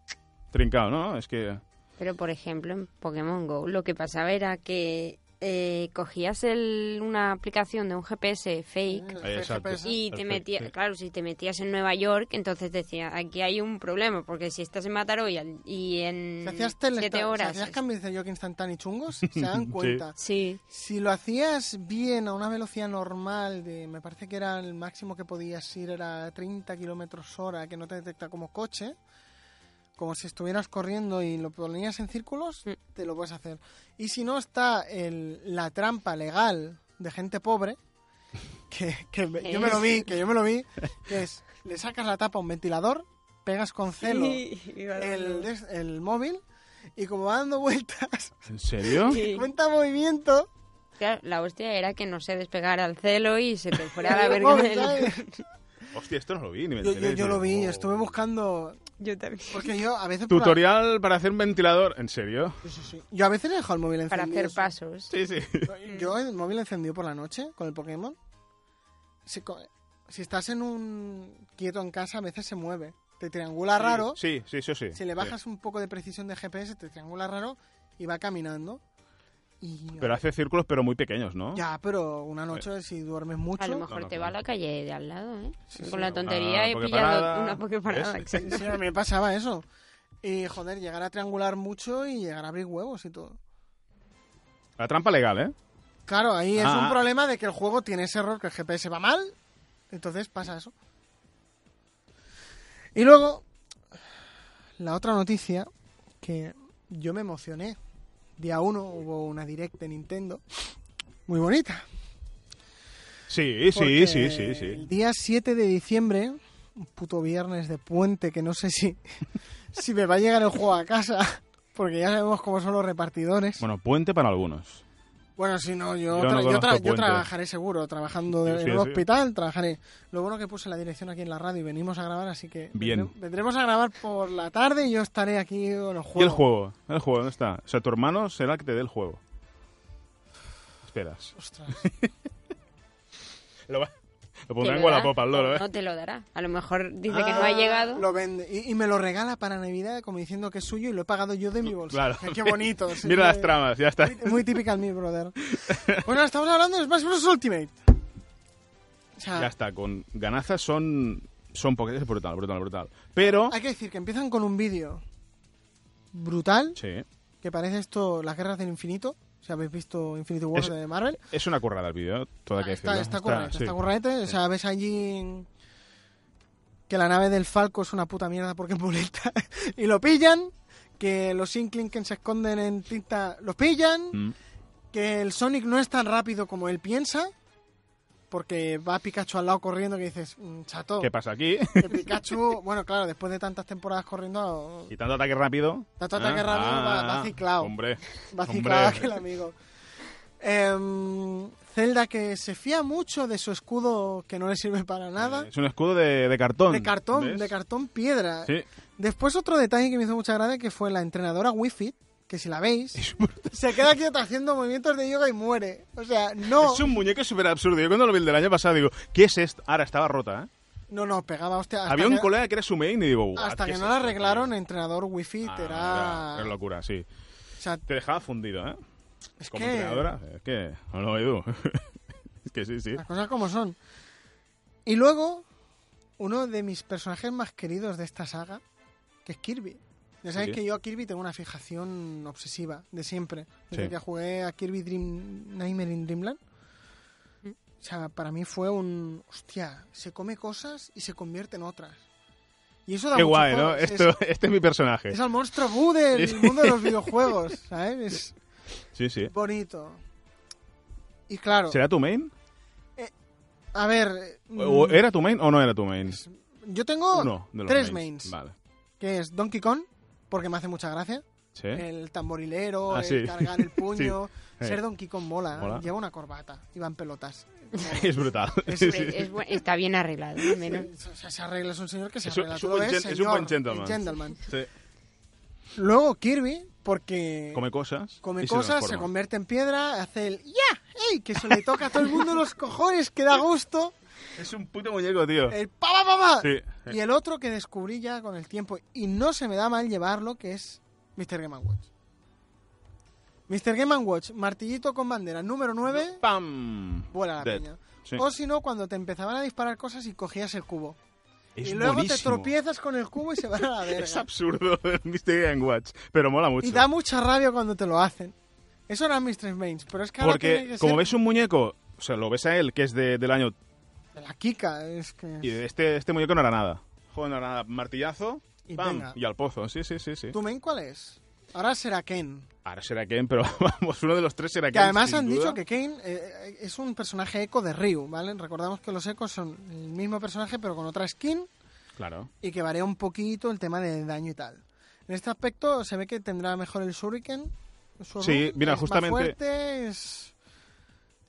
S2: trincado, ¿no? Es que...
S3: Pero, por ejemplo, en Pokémon GO lo que pasaba era que eh, cogías el- una aplicación de un GPS fake
S4: Eh,
S2: Ahí, exacto.
S4: GPS.
S3: y te
S2: Perfecto, sí.
S3: metías, claro, si te metías en Nueva York, entonces decía, aquí hay un problema, porque si estás en Mataroy al- y en
S4: Si hacías tele-
S3: siete horas...
S4: si hacías cambios de yoke instantáneo y chungos, se dan cuenta.
S3: Sí,
S4: Si lo hacías bien a una velocidad normal, de me parece que era el máximo que podías ir, era 30 kilómetros hora, que no te detecta como coche, como si estuvieras corriendo y lo ponías en círculos,
S3: Mm.
S4: te lo puedes hacer. Y si no, está el- la trampa legal de gente pobre, que, que me- yo me lo vi, que yo me lo vi, que es, le sacas la tapa a un ventilador, pegas con celo el, des- el móvil y como va dando vueltas,
S2: ¿En serio?
S4: cuenta movimiento.
S3: Claro, la hostia era que no se despegara al celo y se te fuera la
S4: el
S3: verga.
S4: móvil,
S3: del-
S4: ¿sabes?
S2: Hostia, esto no lo vi, ni me
S4: yo, yo,
S2: enteré.
S4: yo lo vi,
S2: Oh.
S4: estuve buscando...
S3: Yo también.
S4: Porque yo a veces... por la-
S2: Tutorial para hacer un ventilador, ¿en serio?
S4: Sí, sí, sí. Yo a veces dejo el móvil
S3: Para
S4: encendido.
S3: hacer pasos.
S2: Sí, sí.
S4: Yo el móvil encendido por la noche con el Pokémon. Sí, co- si estás en un quieto en casa, a veces se mueve. Te triangula raro.
S2: Sí, sí, sí, sí.
S4: Si le bajas un poco de precisión de GPS, te triangula raro y va caminando. Y,
S2: Pero hace círculos, pero muy pequeños, ¿no?
S4: Ya, pero una noche si duermes mucho...
S3: A lo mejor
S2: No, no,
S3: te
S2: claro.
S3: va a la calle de al lado, ¿eh?
S4: Sí,
S3: Con
S4: sí,
S3: la
S4: una
S3: tontería he pillado
S2: pokeparada.
S3: una pokeparada.
S2: ¿Ves?
S4: Sí, sí, a mí me pasaba eso. Y joder, llegar a triangular mucho y llegar a abrir huevos y todo.
S2: La trampa legal, ¿eh?
S4: Claro, ahí es
S2: Ah.
S4: un problema de que el juego tiene ese error, que el GPS va mal, entonces pasa eso. Y luego, la otra noticia, que yo me emocioné. Día 1 hubo una direct de Nintendo, muy bonita.
S2: Sí, sí,
S4: porque
S2: sí, sí,
S4: El
S2: sí.
S4: día 7 de diciembre, un puto viernes de puente que no sé si, si me va a llegar el juego a casa, porque ya sabemos cómo son los repartidores.
S2: Bueno, puente para algunos.
S4: Bueno, si no, yo,
S2: Yo no
S4: tra- yo,
S2: conozco
S4: tra- yo
S2: puentes.
S4: trabajaré seguro, trabajando de-
S2: Sí,
S4: en un
S2: sí.
S4: hospital, trabajaré. Lo bueno que puse la dirección aquí en la radio y venimos a grabar, así que
S2: Bien.
S4: vendremos- vendremos a grabar por la tarde y yo estaré aquí con
S2: ¿Y
S4: los
S2: el
S4: juegos.
S2: juego? ¿El juego dónde está? O sea, tu hermano será el que te dé el juego. Esperas.
S4: Ostras.
S2: Lo, va- lo
S3: Te
S2: pondrá en
S3: lo dará
S2: Wallapop al loro,
S3: o
S2: ¿eh?
S3: No te lo dará. A lo mejor dice que no ha
S4: Ah,
S3: llegado.
S4: Lo vende. Y, y me lo regala para Navidad, como diciendo que es suyo y lo he pagado yo de mi bolsa.
S2: Claro.
S4: Qué bonito. sí,
S2: Mira las
S4: sí.
S2: tramas, ya está.
S4: Muy, muy típica en mí, brother. Bueno, estamos hablando de Smash Bros. Ultimate. O sea,
S2: Ya está, con ganazas son... Son poquetes brutal, brutal, brutal. Pero...
S4: hay que decir que empiezan con un vídeo brutal,
S2: Sí.
S4: que parece esto Las Guerras del Infinito. Si habéis visto Infinity War
S2: Es-
S4: de Marvel.
S2: Es una currada el vídeo, toda que
S4: Ah, está,
S2: decirlo.
S4: está correcto,
S2: sí.
S4: está correcto. O sea, ves allí en- que la nave del Falco es una puta mierda porque es muleta. y lo pillan. Que los Inkling que se esconden en tinta los pillan.
S2: Mm.
S4: que el Sonic no es tan rápido como él piensa, porque va Pikachu al lado corriendo que dices, "Mm, chato,
S2: ¿Qué pasa aquí?
S4: que Pikachu, bueno, claro, después de tantas temporadas corriendo,
S2: Y tanto ataque rápido. Ah,
S4: Tanto ataque rápido, va- va ciclao.
S2: Hombre,
S4: va
S2: hombre.
S4: ciclado aquel amigo. Em, Zelda que se fía mucho de su escudo que no le sirve para nada.
S2: Es un escudo de, de cartón.
S4: de cartón,
S2: ¿ves?
S4: de cartón piedra.
S2: Sí.
S4: Después otro detalle que me hizo mucha gracia que fue la entrenadora Wi-Fi, que si la veis,
S2: Es brutal.
S4: se queda quieta haciendo movimientos de yoga y muere. O sea, no...
S2: Es un muñeco súper absurdo. Yo cuando lo vi el del año pasado digo, ¿qué es esto? Ahora estaba rota, ¿eh?
S4: No, no, pegaba, hostia. hasta
S2: Había un
S4: que-
S2: colega que era su main y digo, "Guau,
S4: Hasta
S2: ¿qué
S4: que
S2: es
S4: no la
S2: esto,
S4: arreglaron,
S2: tío?".
S4: entrenador wifi
S2: Ah,
S4: te
S2: era- era
S4: era...
S2: locura, sí.
S4: O sea,
S2: Te dejaba fundido, ¿eh?
S4: es
S2: Como
S4: que
S2: entrenadora. Es que. No lo Edu. es que sí, sí.
S4: las cosas como son. Y luego, uno de mis personajes más queridos de esta saga, que es Kirby. Ya sabéis
S2: Sí.
S4: que yo a Kirby tengo una fijación obsesiva, de siempre. Desde
S2: Sí.
S4: que jugué a Kirby Dream Nightmare in Dreamland. O sea, para mí fue un... Hostia, se come cosas y se convierte en otras. Y eso da
S2: Qué
S4: mucho
S2: guay,
S4: juego.
S2: ¿no?
S4: Es-
S2: Esto, este es mi personaje.
S4: Es el monstruo Boo del
S2: Sí.
S4: mundo de los videojuegos, ¿sabes?
S2: Sí, sí.
S4: Es bonito. Y claro,
S2: ¿Será tu main?
S4: a ver, mm,
S2: ¿O- o ¿Era tu main o no era tu main?
S4: yo tengo
S2: Uno de los
S4: tres mains,
S2: Vale.
S4: que es Donkey Kong, porque me hace mucha gracia,
S2: Sí.
S4: el tamborilero,
S2: ¿Eh? Ah,
S4: el
S2: sí.
S4: cargar el puño,
S2: Sí.
S4: ser Donkey Kong mola, ¿eh?
S2: Mola.
S4: lleva una corbata y va en pelotas.
S2: es brutal. Sí, sí.
S3: Hombre, es bu- está bien arreglado, al menos.
S4: O sea, se arregla, es un señor que se
S2: Es un-
S4: arregla.
S2: es
S4: tú
S2: un
S4: lo
S2: buen
S4: ves,
S2: gen- es un
S4: señor,
S2: buen gentleman.
S4: el gentleman. Eh,
S2: Sí.
S4: Luego Kirby, porque
S2: Come cosas.
S4: come
S2: y
S4: cosas, se,
S2: transforma.
S4: convierte en piedra, hace el ¡Ya! ¡Ey! Que se le toca a todo el mundo los cojones, que da gusto.
S2: Es un puto muñeco, tío.
S4: El pa, pa, pa, pa.
S2: Sí.
S4: Y el otro que descubrí ya con el tiempo, y no se me da mal llevarlo, que es Mr. Game Watch. Mr. Game Watch, martillito con bandera número 9,
S2: ¡Pam!
S4: vuela la
S2: Dead.
S4: piña.
S2: Sí.
S4: O si no, cuando te empezaban a disparar cosas y cogías el cubo.
S2: Es
S4: y luego te
S2: buenísimo.
S4: tropiezas con el cubo y se va a la
S2: Es
S4: verga.
S2: absurdo el Mystery Game Watch, pero mola mucho.
S4: Y da mucha rabia cuando te lo hacen. Eso eran mis tres mains, pero es que ahora tiene
S2: Porque
S4: que
S2: como
S4: ser
S2: ves un muñeco, o sea, lo ves a él, que es de- del año...
S4: de la Kika, es que...
S2: Y de este, este muñeco no era nada. Joder, no era nada. Martillazo,
S4: Y
S2: ¡pam!
S4: venga.
S2: Y al pozo. Sí, sí, sí, sí.
S4: ¿Tu main cuál es? Ahora será Ken.
S2: Ahora será Ken, pero vamos, uno de los tres será
S4: Que
S2: Ken,
S4: además
S2: sin
S4: han
S2: duda.
S4: dicho que Kane eh, es un personaje eco de Ryu, ¿vale? Recordamos que los ecos son el mismo personaje pero con otra skin
S2: Claro.
S4: y que varía un poquito el tema de daño y tal. En este aspecto se ve que tendrá mejor el Shuriken. su
S2: Sí,
S4: run,
S2: mira,
S4: es
S2: justamente-
S4: Más fuerte, es...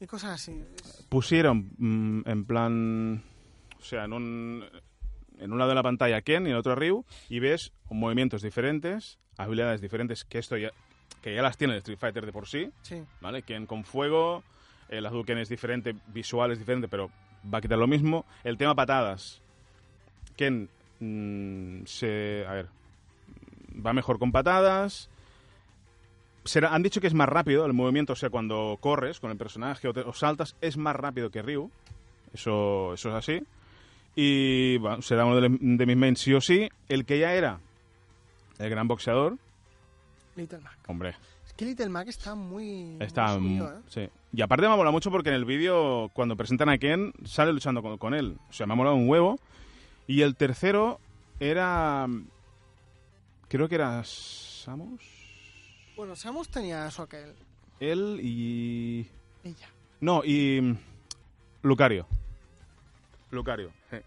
S4: Y cosas así. Es-
S2: Pusieron mm, en plan... O sea, en un... En un lado de la pantalla Ken y en el otro Ryu y ves movimientos diferentes, habilidades diferentes, que esto ya, que ya las tiene el Street Fighter de por sí,
S4: Sí.
S2: eh, ¿vale? Ken con fuego, el Hadouken es diferente, visual es diferente, pero va a quitar lo mismo. El tema patadas. Ken mm, se. A ver. Va mejor con patadas. Será- han dicho que es más rápido el movimiento, o sea, cuando corres con el personaje o, te- o saltas, es más rápido que Ryu. Eso, eso es así. Y bueno, será uno de, los- de mis mains sí o sí. El que ya era el gran boxeador.
S4: Little Mac.
S2: Hombre,
S4: Es que Little Mac está muy.
S2: está... mm,
S4: muy subido, ¿eh?
S2: sí. Y aparte me ha molado mucho porque en el vídeo, cuando presentan a Ken, sale luchando con, con él. O sea, me ha molado un huevo. Y el tercero era... mm, Creo que era Samus.
S4: Bueno, Samus tenía eso aquel.
S2: Él y...
S4: Ella.
S2: No, y mm, Lucario. Lucario. eh.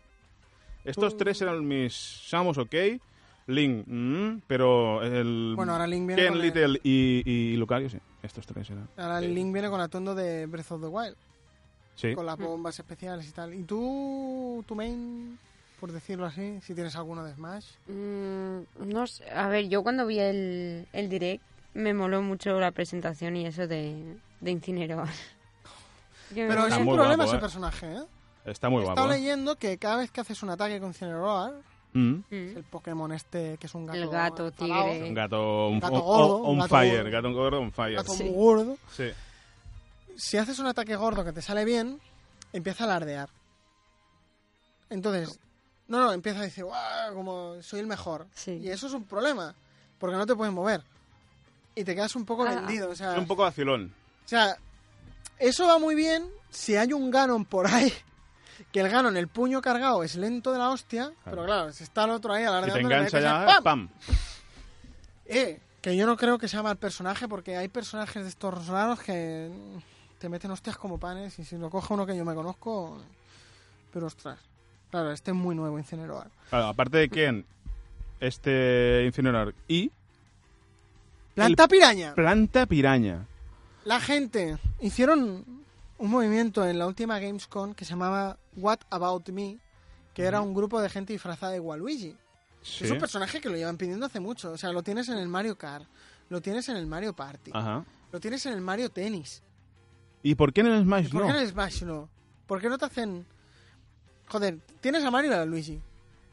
S2: Estos tres eran mis Samus, ok. Link, mm, pero el.
S4: Bueno, ahora Link viene
S2: Mm, Ken,
S4: con el-
S2: Little y, y Lucario, sí. Estos tres eran.
S4: Ahora el Link viene con atuendo de Breath of the Wild.
S2: Sí.
S4: Con las bombas especiales y tal. ¿Y tú, tu main, por decirlo así, si tienes alguno de Smash?
S2: Eh,
S3: Mm, no sé, a ver, yo cuando vi el, el direct me moló mucho la presentación y eso de, de Incineroar. Que me
S4: Pero es
S2: Está
S4: un
S2: muy
S4: problema
S2: guapo,
S4: ese
S2: eh.
S4: personaje, ¿eh?
S2: Está muy
S4: He
S2: guapo.
S4: estado
S2: ¿eh?
S4: leyendo que cada vez que haces un ataque con Cineroar,
S2: Mm.
S3: Mm.
S4: el Pokémon este que es un gato.
S3: El gato
S4: enfadao,
S3: tigre.
S2: Un gato. Un,
S4: Gato
S2: on-
S4: gordo,
S2: on
S4: Eh, un gato
S2: fire.
S4: gordo.
S2: Gato gordo on fire.
S4: gato
S2: sí.
S4: muy gordo.
S2: Sí.
S4: Si haces un ataque gordo que te sale bien, empieza a alardear. Entonces, no, no, empieza a decir, "Guau, como soy el mejor.
S3: Sí.
S4: Y eso es un problema, porque no te puedes mover. Y te quedas un poco
S3: Ah.
S4: vendido. O sea,
S2: Es un poco vacilón.
S4: O sea, eso va muy bien si hay un Ganon por ahí. Que el Ganon, el puño cargado, es lento de la hostia. Pero claro, si está el otro ahí
S2: Si
S4: alardeando...
S2: te
S4: le
S2: engancha
S4: metes el
S2: ya,
S4: ¡pam!
S2: ¡pam!
S4: Eh, que yo no creo que sea mal personaje porque hay personajes de estos raros que te meten hostias como panes. Y si lo coge uno que yo me conozco... Pero ostras. Claro, este es muy nuevo, Incineroar.
S2: Claro, aparte de Ken, este Incinerar y
S4: Planta piraña.
S2: Planta Piraña.
S4: La gente hicieron un movimiento en la última Gamescom que se llamaba What About Me, que era un grupo de gente disfrazada de Waluigi.
S2: Sí.
S4: Es un personaje que lo llevan pidiendo hace mucho. O sea, lo tienes en el Mario Kart, lo tienes en el Mario Party,
S2: Ajá.
S4: lo tienes en el Mario Tennis.
S2: ¿Y por qué en el
S4: ¿Y
S2: Smash
S4: por
S2: Pues no?
S4: qué en el Smash no? ¿Por qué no te hacen...? Joder, tienes a Mario y a Luigi.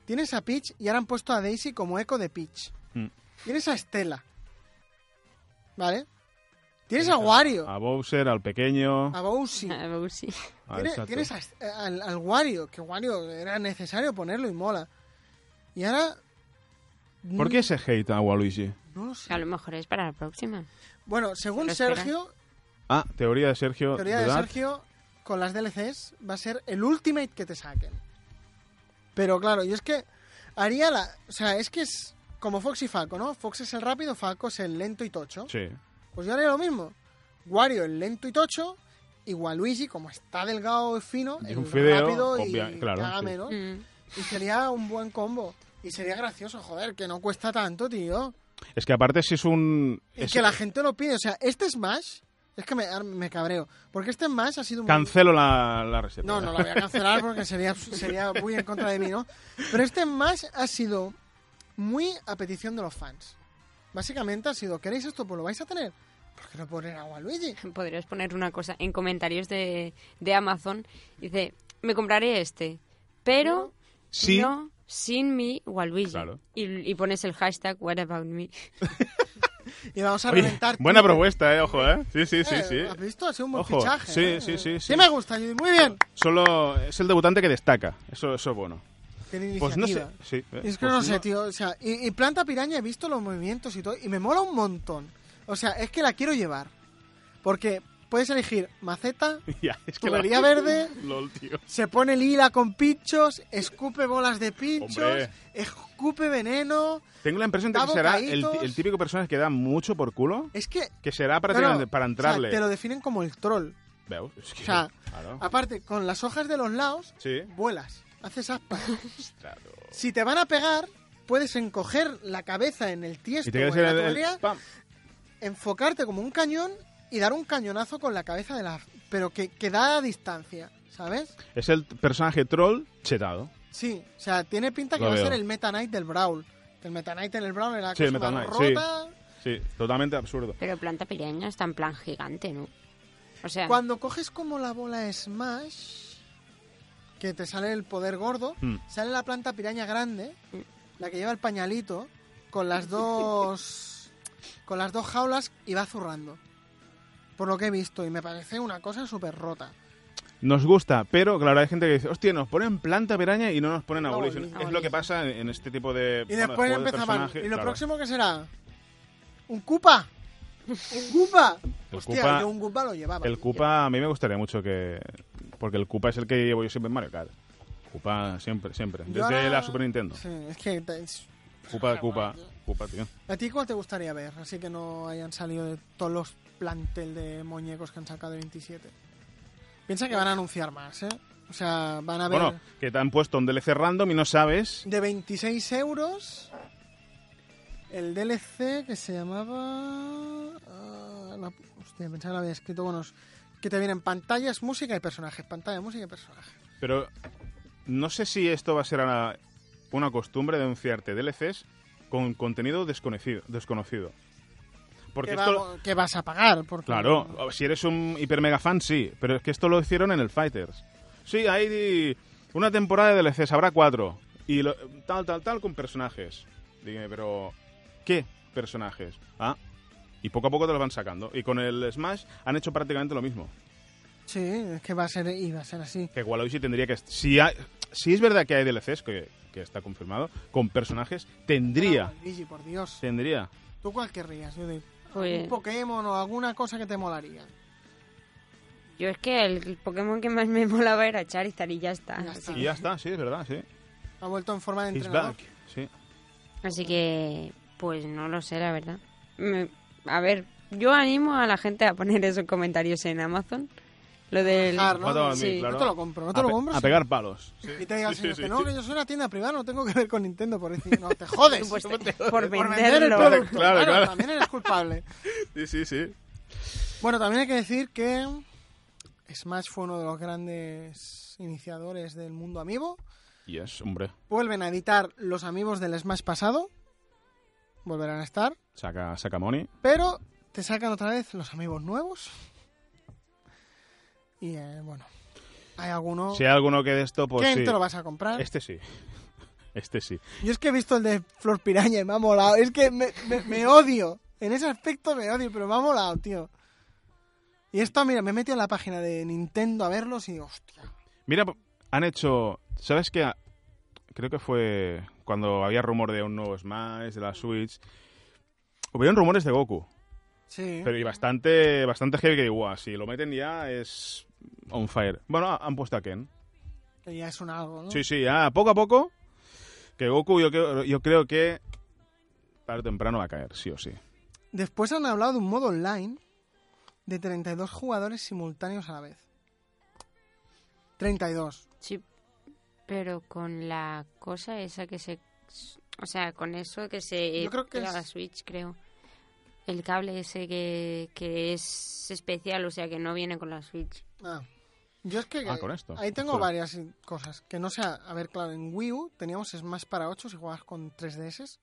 S4: Tienes a Peach y ahora han puesto a Daisy como eco de Peach.
S2: Mm.
S4: Tienes a Estela. ¿Vale? Tienes a Wario.
S2: A Bowser, al pequeño.
S4: A Bowsy.
S3: Ah, pues sí.
S2: Ah,
S4: Tiene-
S2: exacto.
S4: tienes a- al, al Wario, que Wario era necesario ponerlo y mola. Y ahora... mm,
S2: ¿Por qué se hate a Waluigi?
S4: No lo sé.
S3: A lo mejor es para la próxima.
S4: Bueno, según
S3: Pero espera.
S4: Sergio,
S2: Ah, teoría de Sergio.
S4: teoría de
S2: Dudat.
S4: Sergio, con las DLCs va a ser el ultimate que te saquen. Pero claro, yo es que haría la... O sea, es que es como Fox y Falco, ¿no? Fox es el rápido, Falco es el lento y tocho.
S2: Sí.
S4: Pues yo haría lo mismo. Wario el lento y tocho, y Waluigi, como está delgado y fino,
S2: Y
S4: el
S2: un fideo,
S4: rápido
S2: obvia-
S4: y
S2: claro,
S4: que haga
S2: sí.
S4: menos.
S3: Mm.
S4: Y sería un buen combo. Y sería gracioso, joder, que no cuesta tanto, tío.
S2: Es que aparte si es un...
S4: Y
S2: es-
S4: que la gente lo pide. O sea, este Smash... Es que me, ahora me cabreo. Porque este Smash ha sido un...
S2: Cancelo la, la reserva.
S4: No, no la voy a cancelar porque sería, sería muy en contra de mí, ¿no? Pero este Smash ha sido muy a petición de los fans. Básicamente ha sido, ¿queréis esto? Pues lo vais a tener. ¿Por qué no poner a Waluigi?
S3: Podrías poner una cosa en comentarios de, de Amazon. Dice, me compraré este, pero
S2: Sí.
S3: no sin mi Waluigi.
S2: Claro.
S3: Y, y pones el hashtag What About Me.
S4: Y vamos a
S2: Oye,
S4: reventar.
S2: buena
S4: Twitter.
S2: propuesta, eh, ojo, eh. Sí, sí, sí,
S4: Eh,
S2: sí.
S4: ¿Has visto? Ha sido un buen
S2: Ojo,
S4: fichaje.
S2: sí,
S4: ¿eh?
S2: sí, sí, sí.
S4: me gusta, Judy. Muy bien.
S2: Solo es el debutante que destaca. Eso, eso es bueno.
S4: Tiene
S2: Pues no sé.
S4: iniciativa.
S2: Sí, eh,
S4: Es que
S2: pues
S4: no sé, tío. O sea, y, y Planta Piraña he visto los movimientos y todo. Y me mola un montón. O sea, es que la quiero llevar. Porque puedes elegir maceta,
S2: Ya, es que la-
S4: tubería verde,
S2: LOL, tío.
S4: se pone lila con pinchos, escupe bolas de pinchos,
S2: Hombre.
S4: escupe veneno.
S2: Tengo la impresión de que
S4: Da
S2: será el,
S4: bocaditos.
S2: el típico personaje que da mucho por culo,
S4: Es que.
S2: que será para,
S4: claro,
S2: tirar- para
S4: o sea,
S2: entrarle.
S4: te lo definen como el troll.
S2: Veo, es que-
S4: O sea,
S2: claro.
S4: aparte, con las hojas de los lados,
S2: Sí.
S4: vuelas, haces aspas.
S2: Claro.
S4: si te van a pegar, puedes encoger la cabeza en el
S2: Y
S4: tiesto
S2: te
S4: o
S2: quedas
S4: en
S2: en
S4: la
S2: el- el-
S4: tubería,
S2: pam.
S4: enfocarte como un cañón y dar un cañonazo con la cabeza de la... Pero que, que da a distancia, ¿sabes?
S2: Es el personaje troll chetado.
S4: Sí, o sea, tiene pinta que
S2: Lo
S4: va
S2: veo.
S4: a ser el Meta Knight del Brawl. Que El Meta Knight en el Brawl era la
S2: Sí, el Meta
S4: cosa más
S2: Knight, sí.
S4: rota.
S2: Sí, totalmente absurdo.
S3: Pero planta piraña está en plan gigante, ¿no? O sea,
S4: Cuando coges como la bola Smash, que te sale el poder gordo,
S2: Mm.
S4: sale la planta piraña grande, la que lleva el pañalito, con las dos. con las dos jaulas y va zurrando. Por lo que he visto, y me parece una cosa súper rota.
S2: Nos gusta, pero claro, hay gente que dice, hostia, nos ponen planta piraña y no nos ponen
S3: No,
S2: abolición.
S3: ni-
S2: es lo que pasa en, en este tipo de.
S4: Y
S2: bueno,
S4: después
S2: juego de
S4: empezaban.
S2: personaje,
S4: ¿Y lo
S2: claro.
S4: próximo qué será? ¿Un cupa? ¿Un cupa?
S2: El
S4: Hostia,
S2: Koopa-
S4: yo un cupa lo llevaba.
S2: El Koopa a mí me gustaría mucho que. Porque el Koopa es el que llevo yo siempre en Mario Kart. Koopa siempre, siempre.
S4: Yo
S2: Desde
S4: ahora-
S2: la Super Nintendo.
S4: Sí, es que. te-
S2: Koopa, Koopa, Koopa, tío.
S4: ¿A ti cuál te gustaría ver? Así que no hayan salido de todos los plantel de muñecos que han sacado de 27. Piensa que van a anunciar más, ¿eh? O sea, van a haber
S2: Bueno, que te han puesto un DLC random y no sabes.
S4: de 26 euros el DLC que se llamaba... ah, la- hostia, pensaba que lo había escrito. Bueno, es que te vienen pantallas, música y personajes. Pantalla, música y personajes.
S2: Pero no sé si esto va a ser una, una costumbre de anunciarte DLCs con contenido desconocido. desconocido. Porque
S4: Que,
S2: esto.
S4: vamos- que vas a pagar. Porque
S2: Claro, si eres un hiper mega fan, sí, pero es que esto lo hicieron en el Fighters. Sí, hay di- una temporada de DLCs, habrá cuatro, y lo- tal, tal, tal, con personajes. Dime, pero ¿qué personajes? Ah, y poco a poco te los van sacando. Y con el Smash han hecho prácticamente lo mismo.
S4: Sí, es que va a ser, y va a ser así.
S2: Que Waluigi tendría que... Si, ha- si es verdad que hay DLCs, que, que está confirmado, con personajes, tendría,
S4: Ah, Luigi, por Dios.
S2: tendría.
S4: ¿Tú cuál querrías? Yo digo,
S3: Pues-
S4: un Pokémon o alguna cosa que te molaría.
S3: Yo es que el Pokémon que más me molaba era Charizard y ya está.
S4: Ya está.
S3: Así,
S2: Y ya está, sí, es verdad, sí.
S4: Ha vuelto en forma de
S2: He's
S4: entrenador.
S2: back, sí.
S3: así que, pues no lo sé, la verdad. Me- a ver, yo animo a la gente a poner esos comentarios en Amazon. Lo del...
S4: Dejar,
S2: Foto a mí,
S3: Sí.
S2: claro.
S4: No te lo compro, no te
S2: a,
S4: lo
S2: pe-
S4: compro.
S2: a
S4: sí.
S2: pegar palos. Sí.
S4: Y te diga el
S2: Sí,
S4: señor
S2: sí,
S4: que
S2: sí.
S4: no, que yo soy una tienda privada, no tengo que ver con Nintendo por decir, no, te jodes.
S3: Pues,
S4: por
S3: por
S4: vender el
S3: venderlo.
S4: producto.
S2: Claro,
S4: Claro,
S2: claro.
S4: también eres culpable.
S2: Sí, sí, sí.
S4: Bueno, también hay que decir que Smash fue uno de los grandes iniciadores del mundo amiibo.
S2: Yes, hombre.
S4: Vuelven a editar los amigos del Smash pasado. Volverán a estar.
S2: Saca, saca money.
S4: Pero te sacan otra vez los amigos nuevos. Y eh, bueno, hay alguno
S2: Si hay alguno que de esto, pues
S4: que
S2: sí.
S4: te lo vas a comprar.
S2: Este sí. Este sí.
S4: Yo es que he visto el de Flor Piraña y me ha molado. Es que me, me- me odio. En ese aspecto me odio, pero me ha molado, tío. Y esto, mira, me he metido en la página de Nintendo a verlos y digo, hostia.
S2: Mira, han hecho... ¿Sabes qué? Creo que fue cuando había rumor de un nuevo Smash, de la Switch. Hubieron rumores de Goku.
S4: Sí.
S2: Pero y bastante, bastante heavy que digo, "Buah, si lo meten ya es on fire. Bueno, han puesto a Ken.
S4: Que ya es un algo, ¿no?
S2: Sí, sí, ya poco a poco. Que Goku yo, creo- yo creo que tarde o temprano va a caer, sí o sí.
S4: Después han hablado de un modo online de 32 jugadores simultáneos a la vez. 32.
S3: Sí, pero con la cosa esa que se... O sea, con eso que se...
S4: Yo creo que
S3: pega a la
S4: es-
S3: Switch, creo. El cable ese que, que es especial, o sea, que no viene con la Switch.
S4: Ah. Yo es que
S2: Ah, con esto.
S4: ahí tengo
S2: Ostras.
S4: varias cosas. Que no sea, a ver, claro, en Wii U teníamos Smash para 8 si jugabas con 3DS,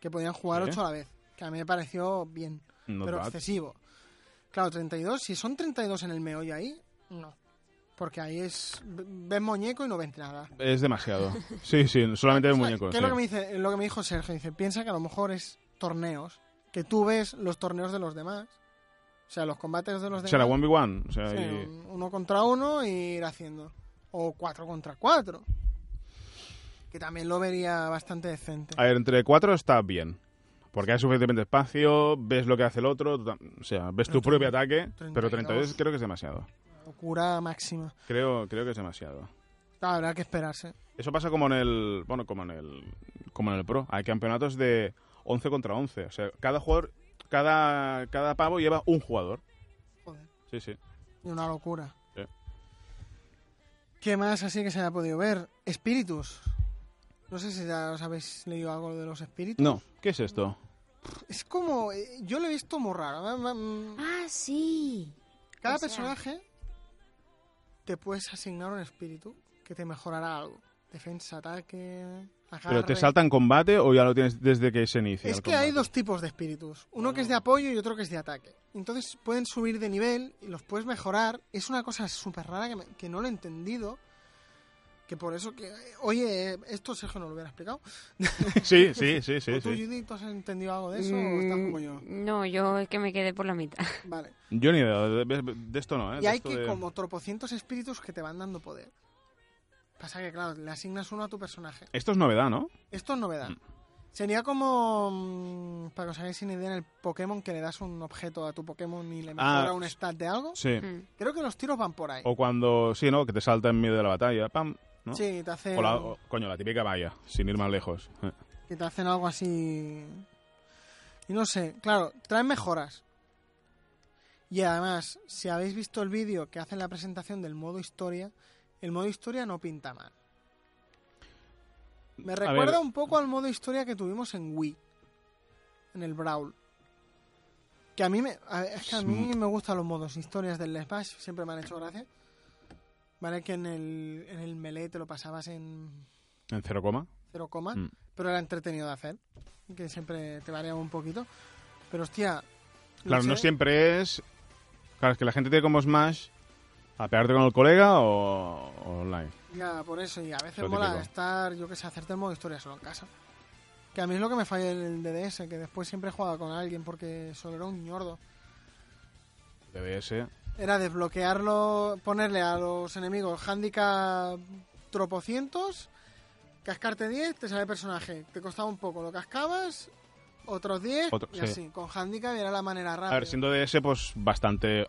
S4: que podían jugar
S2: Sí.
S4: 8 a la vez, que a mí me pareció bien,
S2: Not
S4: pero
S2: bad.
S4: excesivo. Claro, 32, si son 32 en el meollo ahí, no. Porque ahí es, ves muñeco y no ves nada.
S2: Es demasiado. Sí, sí, solamente de
S4: O sea,
S2: muñecos.
S4: ¿Qué es lo
S2: sí.
S4: que, me dice, lo que me dijo Sergio? Dice, piensa que a lo mejor es torneos, que tú ves los torneos de los demás, o sea, los combates de los
S2: O
S4: demás.
S2: sea, la 1v1. O sea,
S4: Sí,
S2: y-
S4: un- uno contra uno y ir haciendo. O cuatro contra cuatro. Que también lo vería bastante decente.
S2: A ver, entre cuatro está bien. Porque hay suficientemente espacio, ves lo que hace el otro, tú tam- o sea, ves tu
S4: Pero
S2: propio
S4: treinta-
S2: ataque, pero
S4: 32.
S2: 32 creo que es demasiado.
S4: Locura máxima.
S2: Creo, creo que es demasiado.
S4: Claro, habrá que esperarse.
S2: Eso pasa como en el, bueno, como en el como en el Pro, hay campeonatos de 11 contra 11, o sea, cada jugador cada cada pavo lleva un jugador.
S4: Joder.
S2: Sí, sí.
S4: Y una locura.
S2: Sí.
S4: ¿Qué más así que se haya podido ver? Espíritus. No sé si ya os habéis leído algo de los espíritus.
S2: No, ¿qué es esto?
S4: Es como... eh, Yo lo he visto muy raro. Va- va-
S3: Ah, sí.
S4: Cada
S3: o sea-
S4: personaje te puedes asignar un espíritu que te mejorará algo. Defensa, ataque...
S2: ¿Pero te
S4: agarre.
S2: salta en combate o ya lo tienes desde que se inicia?
S4: Es
S2: el
S4: que hay
S2: combate?
S4: dos tipos de espíritus, uno que es de apoyo y otro que es de ataque. Entonces pueden subir de nivel y los puedes mejorar. Es una cosa súper rara que, me- que no lo he entendido. Que por eso que... Oye, esto Sergio no lo hubiera explicado.
S2: Sí, sí, sí, sí.
S4: ¿O ¿Tú,
S2: sí.
S4: Judith, tú has entendido algo de eso o estás como yo?
S3: Mm, No, yo es que me quedé por la mitad.
S4: Vale.
S2: Yo ni idea, de, de- de esto no, ¿eh?
S4: Y
S2: De
S4: hay
S2: esto
S4: que
S2: de-
S4: como tropocientos espíritus que te van dando poder. Pasa que, claro, le asignas uno a tu personaje.
S2: Esto es novedad, ¿no?
S4: Esto es novedad.
S2: Mm.
S4: Sería como, mm, para que os hagáis una idea, en el Pokémon que le das un objeto a tu Pokémon y le mejora un stat de algo.
S2: Sí.
S3: Mm.
S4: Creo que los tiros van por ahí.
S2: Ah, O cuando, sí, ¿no? Que te salta en medio de la batalla, pam, ¿no?
S4: Sí, te hacen,
S2: O la, o- coño, la típica valla, sin ir más lejos. Eh.
S4: que te hacen algo así... Y no sé, claro, traen mejoras. Y además, si habéis visto el vídeo que hacen la presentación del modo historia, el modo historia no pinta mal. Me
S2: A
S4: recuerda
S2: ver.
S4: un poco al modo historia que tuvimos en Wii, en el Brawl. Que a mí me, a- es que a mí me gustan los modos historias del Smash, siempre me han hecho gracia. Vale, que en el, en el melee te lo pasabas en
S2: En cero coma.
S4: cero coma,
S2: Mm.
S4: pero era entretenido de hacer, que siempre te variaba un poquito. Pero hostia,
S2: Claro, no
S4: sé,
S2: siempre es... Claro, es que la gente tiene como Smash a pegarte con el colega o, o online.
S4: Ya, por eso, y a veces
S2: Lo
S4: mola
S2: típico.
S4: estar, yo que sé, hacerte el modo historia solo en casa. Que a mí es lo que me falla el DDS, que después siempre jugaba con alguien porque solo era un ñordo.
S2: DDS.
S4: Era desbloquearlo, ponerle a los enemigos handicap tropocientos, cascarte 10, te sale el personaje. Te costaba un poco, lo cascabas, otros 10
S2: Otro-
S4: y
S2: sí.
S4: así. Con handicap era la manera rápida.
S2: A ver, siendo DDS, pues bastante...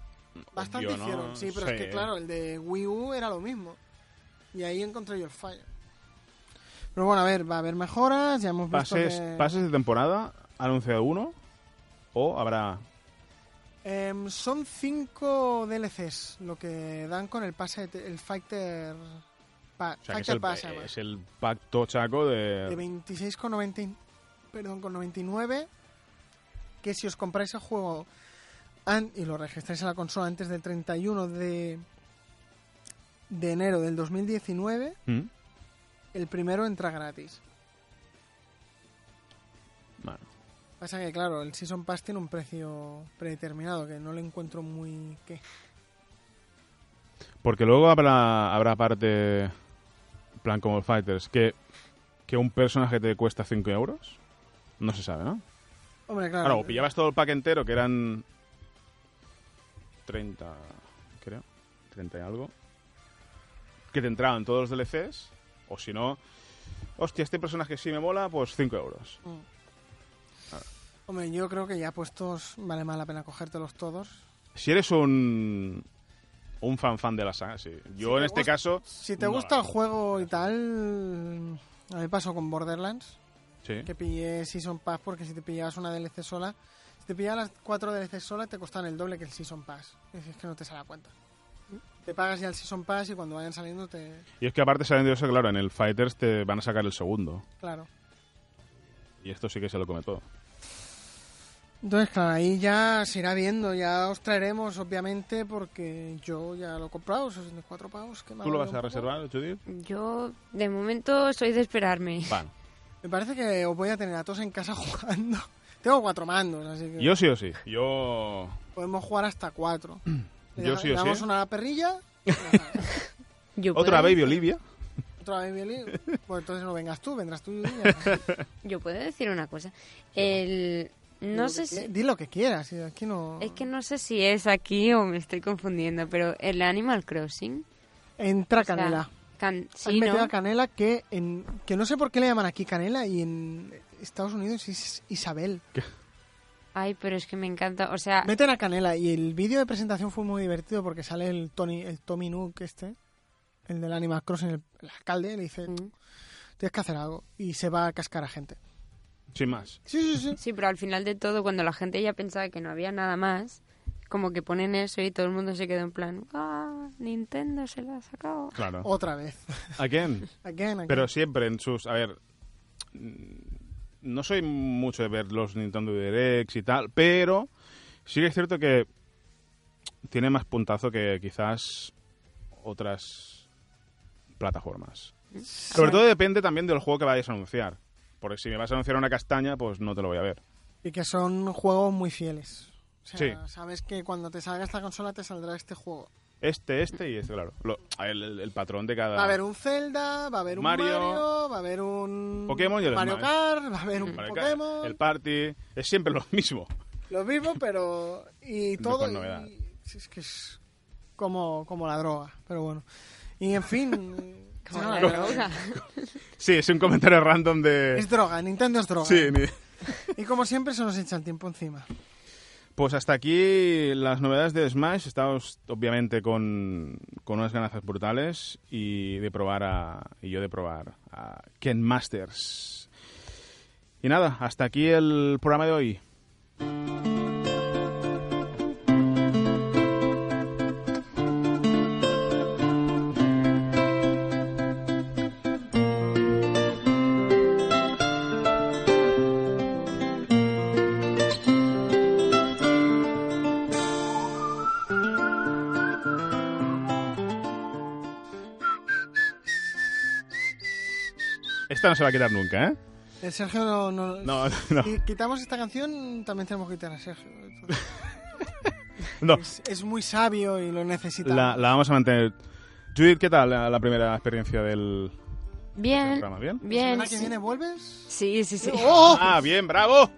S4: Bastante
S2: obvio, ¿no?
S4: hicieron, sí, pero es que claro, el de Wii U era lo mismo. Y ahí encontré yo el fallo. Pero bueno, a ver, va a haber mejoras, ya hemos visto
S2: Pases,
S4: que-
S2: pases de temporada, ha anunciado uno, o habrá...
S4: Em, son cinco DLCs lo que dan con el pase, de te- el Fighter, pa-
S2: O sea, que es
S4: Fighter
S2: el,
S4: Pass, se llama.
S2: es el pacto chaco
S4: pues? de
S2: de...
S4: 26,90, perdón, con 99, que si os compráis el juego an- y lo registráis en la consola antes del 31 de, de enero del 2019,
S2: ¿Mm?
S4: el primero entra gratis.
S2: Bueno.
S4: Pasa que, claro, el Season Pass tiene un precio predeterminado que no le encuentro muy... ¿qué?
S2: Porque luego habrá, habrá parte, en plan como el Fighters, que, que un personaje te cuesta 5 euros. No se sabe, ¿no?
S4: Hombre, claro.
S2: Claro, o pillabas todo el pack entero, que eran 30, creo, 30 y algo, que te entraban todos los DLCs, o si no, hostia, este personaje sí me mola, pues 5 euros.
S4: Mm. Hombre, yo creo que ya puestos vale más la pena cogértelos todos.
S2: Si eres un, un fan fan de la saga, sí. Yo
S4: Si
S2: en
S4: te
S2: este
S4: gust-
S2: caso...
S4: Si te
S2: no,
S4: gusta
S2: la-
S4: el juego y tal... A mí pasó con Borderlands,
S2: Sí.
S4: que pillé Season Pass porque si te pillabas una DLC sola... Si te pillabas las cuatro DLC sola te costan el doble que el Season Pass. Es es que no te sale a cuenta. Te pagas ya el Season Pass y cuendo vayan saliendo te...
S2: Y es que aparte sabiendo eso, claro, en el Fighters te van a sacar el segundo.
S4: Claro.
S2: Y esto sí que se lo come todo.
S4: Entonces, claro, ahí ya se irá viendo, ya os traeremos, obviamente, porque yo ya lo he comprado, 64 pavos. Que me ha
S2: ¿Tú lo
S4: dolido
S2: vas
S4: un
S2: a
S4: poco.
S2: reservar, Judith?
S3: Yo, de momento, soy de esperarme.
S2: Van.
S4: Me parece que os voy a tener a todos en casa jugando. Tengo cuatro mandos, así que
S2: Yo sí o sí. Yo.
S4: podemos jugar hasta cuatro. Le
S2: Yo
S4: da-
S2: sí
S4: le
S2: o
S4: damos
S2: sí. ¿eh?
S4: una a la perrilla,
S3: Yo
S2: Otra
S3: puedo,
S2: Baby Olivia.
S4: otra vez violín. Bueno, entonces no vengas tú, vendrás tú y yo. ya.
S3: Yo puedo decir una cosa. El... No sé si...
S4: Di- Di lo que quieras, y aquí no...
S3: Es que no sé si es aquí o me estoy confundiendo, pero el Animal Crossing...
S4: Entra
S3: o sea,
S4: Canela.
S3: can-
S4: Han
S3: sí,
S4: metido
S3: ¿no?
S4: a Canela que en que no sé por qué le llaman aquí Canela y en Estados Unidos es Isabel.
S3: Ay, pero es que me encanta. O sea,
S4: Meten a Canela y el vídeo de presentación fue muy divertido porque sale el Tony, el Tommy Nook este, el del Animal Crossing, el, el alcalde, le dice,
S3: Mm.
S4: tienes que hacer algo y se va a cascar a gente.
S2: Sin más.
S4: Sí, sí, sí.
S3: sí, pero al final de todo, cuando la gente ya pensaba que no había nada más, como que ponen eso y todo el mundo se quedó en plan, ah, Nintendo se la ha sacado.
S2: Claro.
S4: Otra vez.
S2: Oh. ¿A quién?
S4: Again, again.
S2: Pero siempre en sus. A ver. mm, No soy mucho de ver los Nintendo Directs y tal, pero sí que es cierto que tiene más puntazo que quizás otras plataformas. Sobre todo depende también del juego que vayas a anunciar. Porque si me vas a anunciar una castaña, pues no te lo voy a ver.
S4: Y que son juegos muy fieles. O sea,
S2: Sí.
S4: sabes que cuando te salga esta consola te saldrá este juego.
S2: este, este y este, claro. Lo- a ver, el, el patrón de cada...
S4: Va a haber un Zelda, va a haber un Mario,
S2: Ah. Mario,
S4: va a haber un
S2: Pokémon y el
S4: Mario
S2: Smash.
S4: Kart, va a haber un
S2: Vale, claro,
S4: Pokémon,
S2: El party, es siempre lo mismo.
S4: lo mismo, pero y
S2: No
S4: todo
S2: con novedad.
S4: y- sí, es que es como como la droga, pero bueno. Y en fin,
S3: Como
S4: no,
S3: la
S4: no,
S3: droga.
S2: Sí, es un comentario random de...
S4: es ¿eh? droga, Nintendo es droga.
S2: Sí, ni-
S4: Y como siempre se nos echa el tiempo encima.
S2: Pues hasta aquí las novedades de Smash. Estamos obviamente con, con unas ganas brutales y de probar a, y yo de probar a Ken Masters. Y nada, hasta aquí el programa de hoy. Esta no se va a quitar nunca, ¿eh?
S4: El Sergio no, no-
S2: No, no,
S4: Y quitamos esta canción, también tenemos que quitar a Sergio.
S2: no.
S4: Es, es muy sabio y lo necesitamos.
S2: La, la vamos a mantener. Judith, ¿qué tal la, la primera experiencia del
S3: Bien,
S2: programa? ¿Bien?
S4: ¿La
S3: bien.
S4: semana que
S3: sí.
S4: viene vuelves?
S3: Sí, sí, sí.
S4: ¡Oh!
S2: Ah, bien, bravo.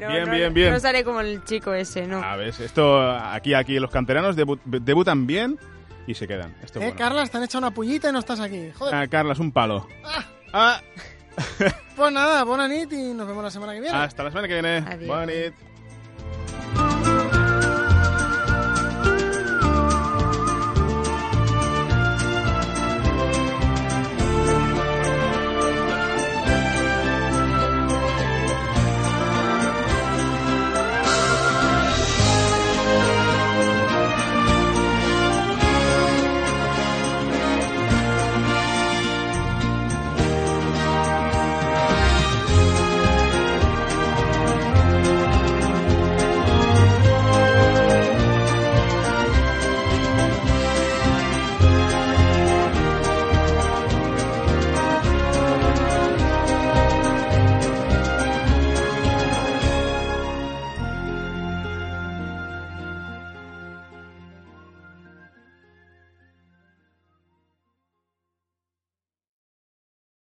S3: No,
S2: Bien,
S3: no,
S2: bien, Ah, bien.
S3: No sale como el chico ese, no.
S2: A ver, esto aquí, aquí los canteranos debu- debutan bien y se quedan. Esto es
S4: Eh,
S2: bueno.
S4: Carla, te han hecho una pullita y no estás aquí. Joder.
S2: Ah, Carla, es un palo.
S4: Ah.
S2: Ah,
S4: Pues nada, buena nit y nos vemos la semana que viene.
S2: Ah, hasta la semana que viene.
S3: Adiós.
S2: Bonit.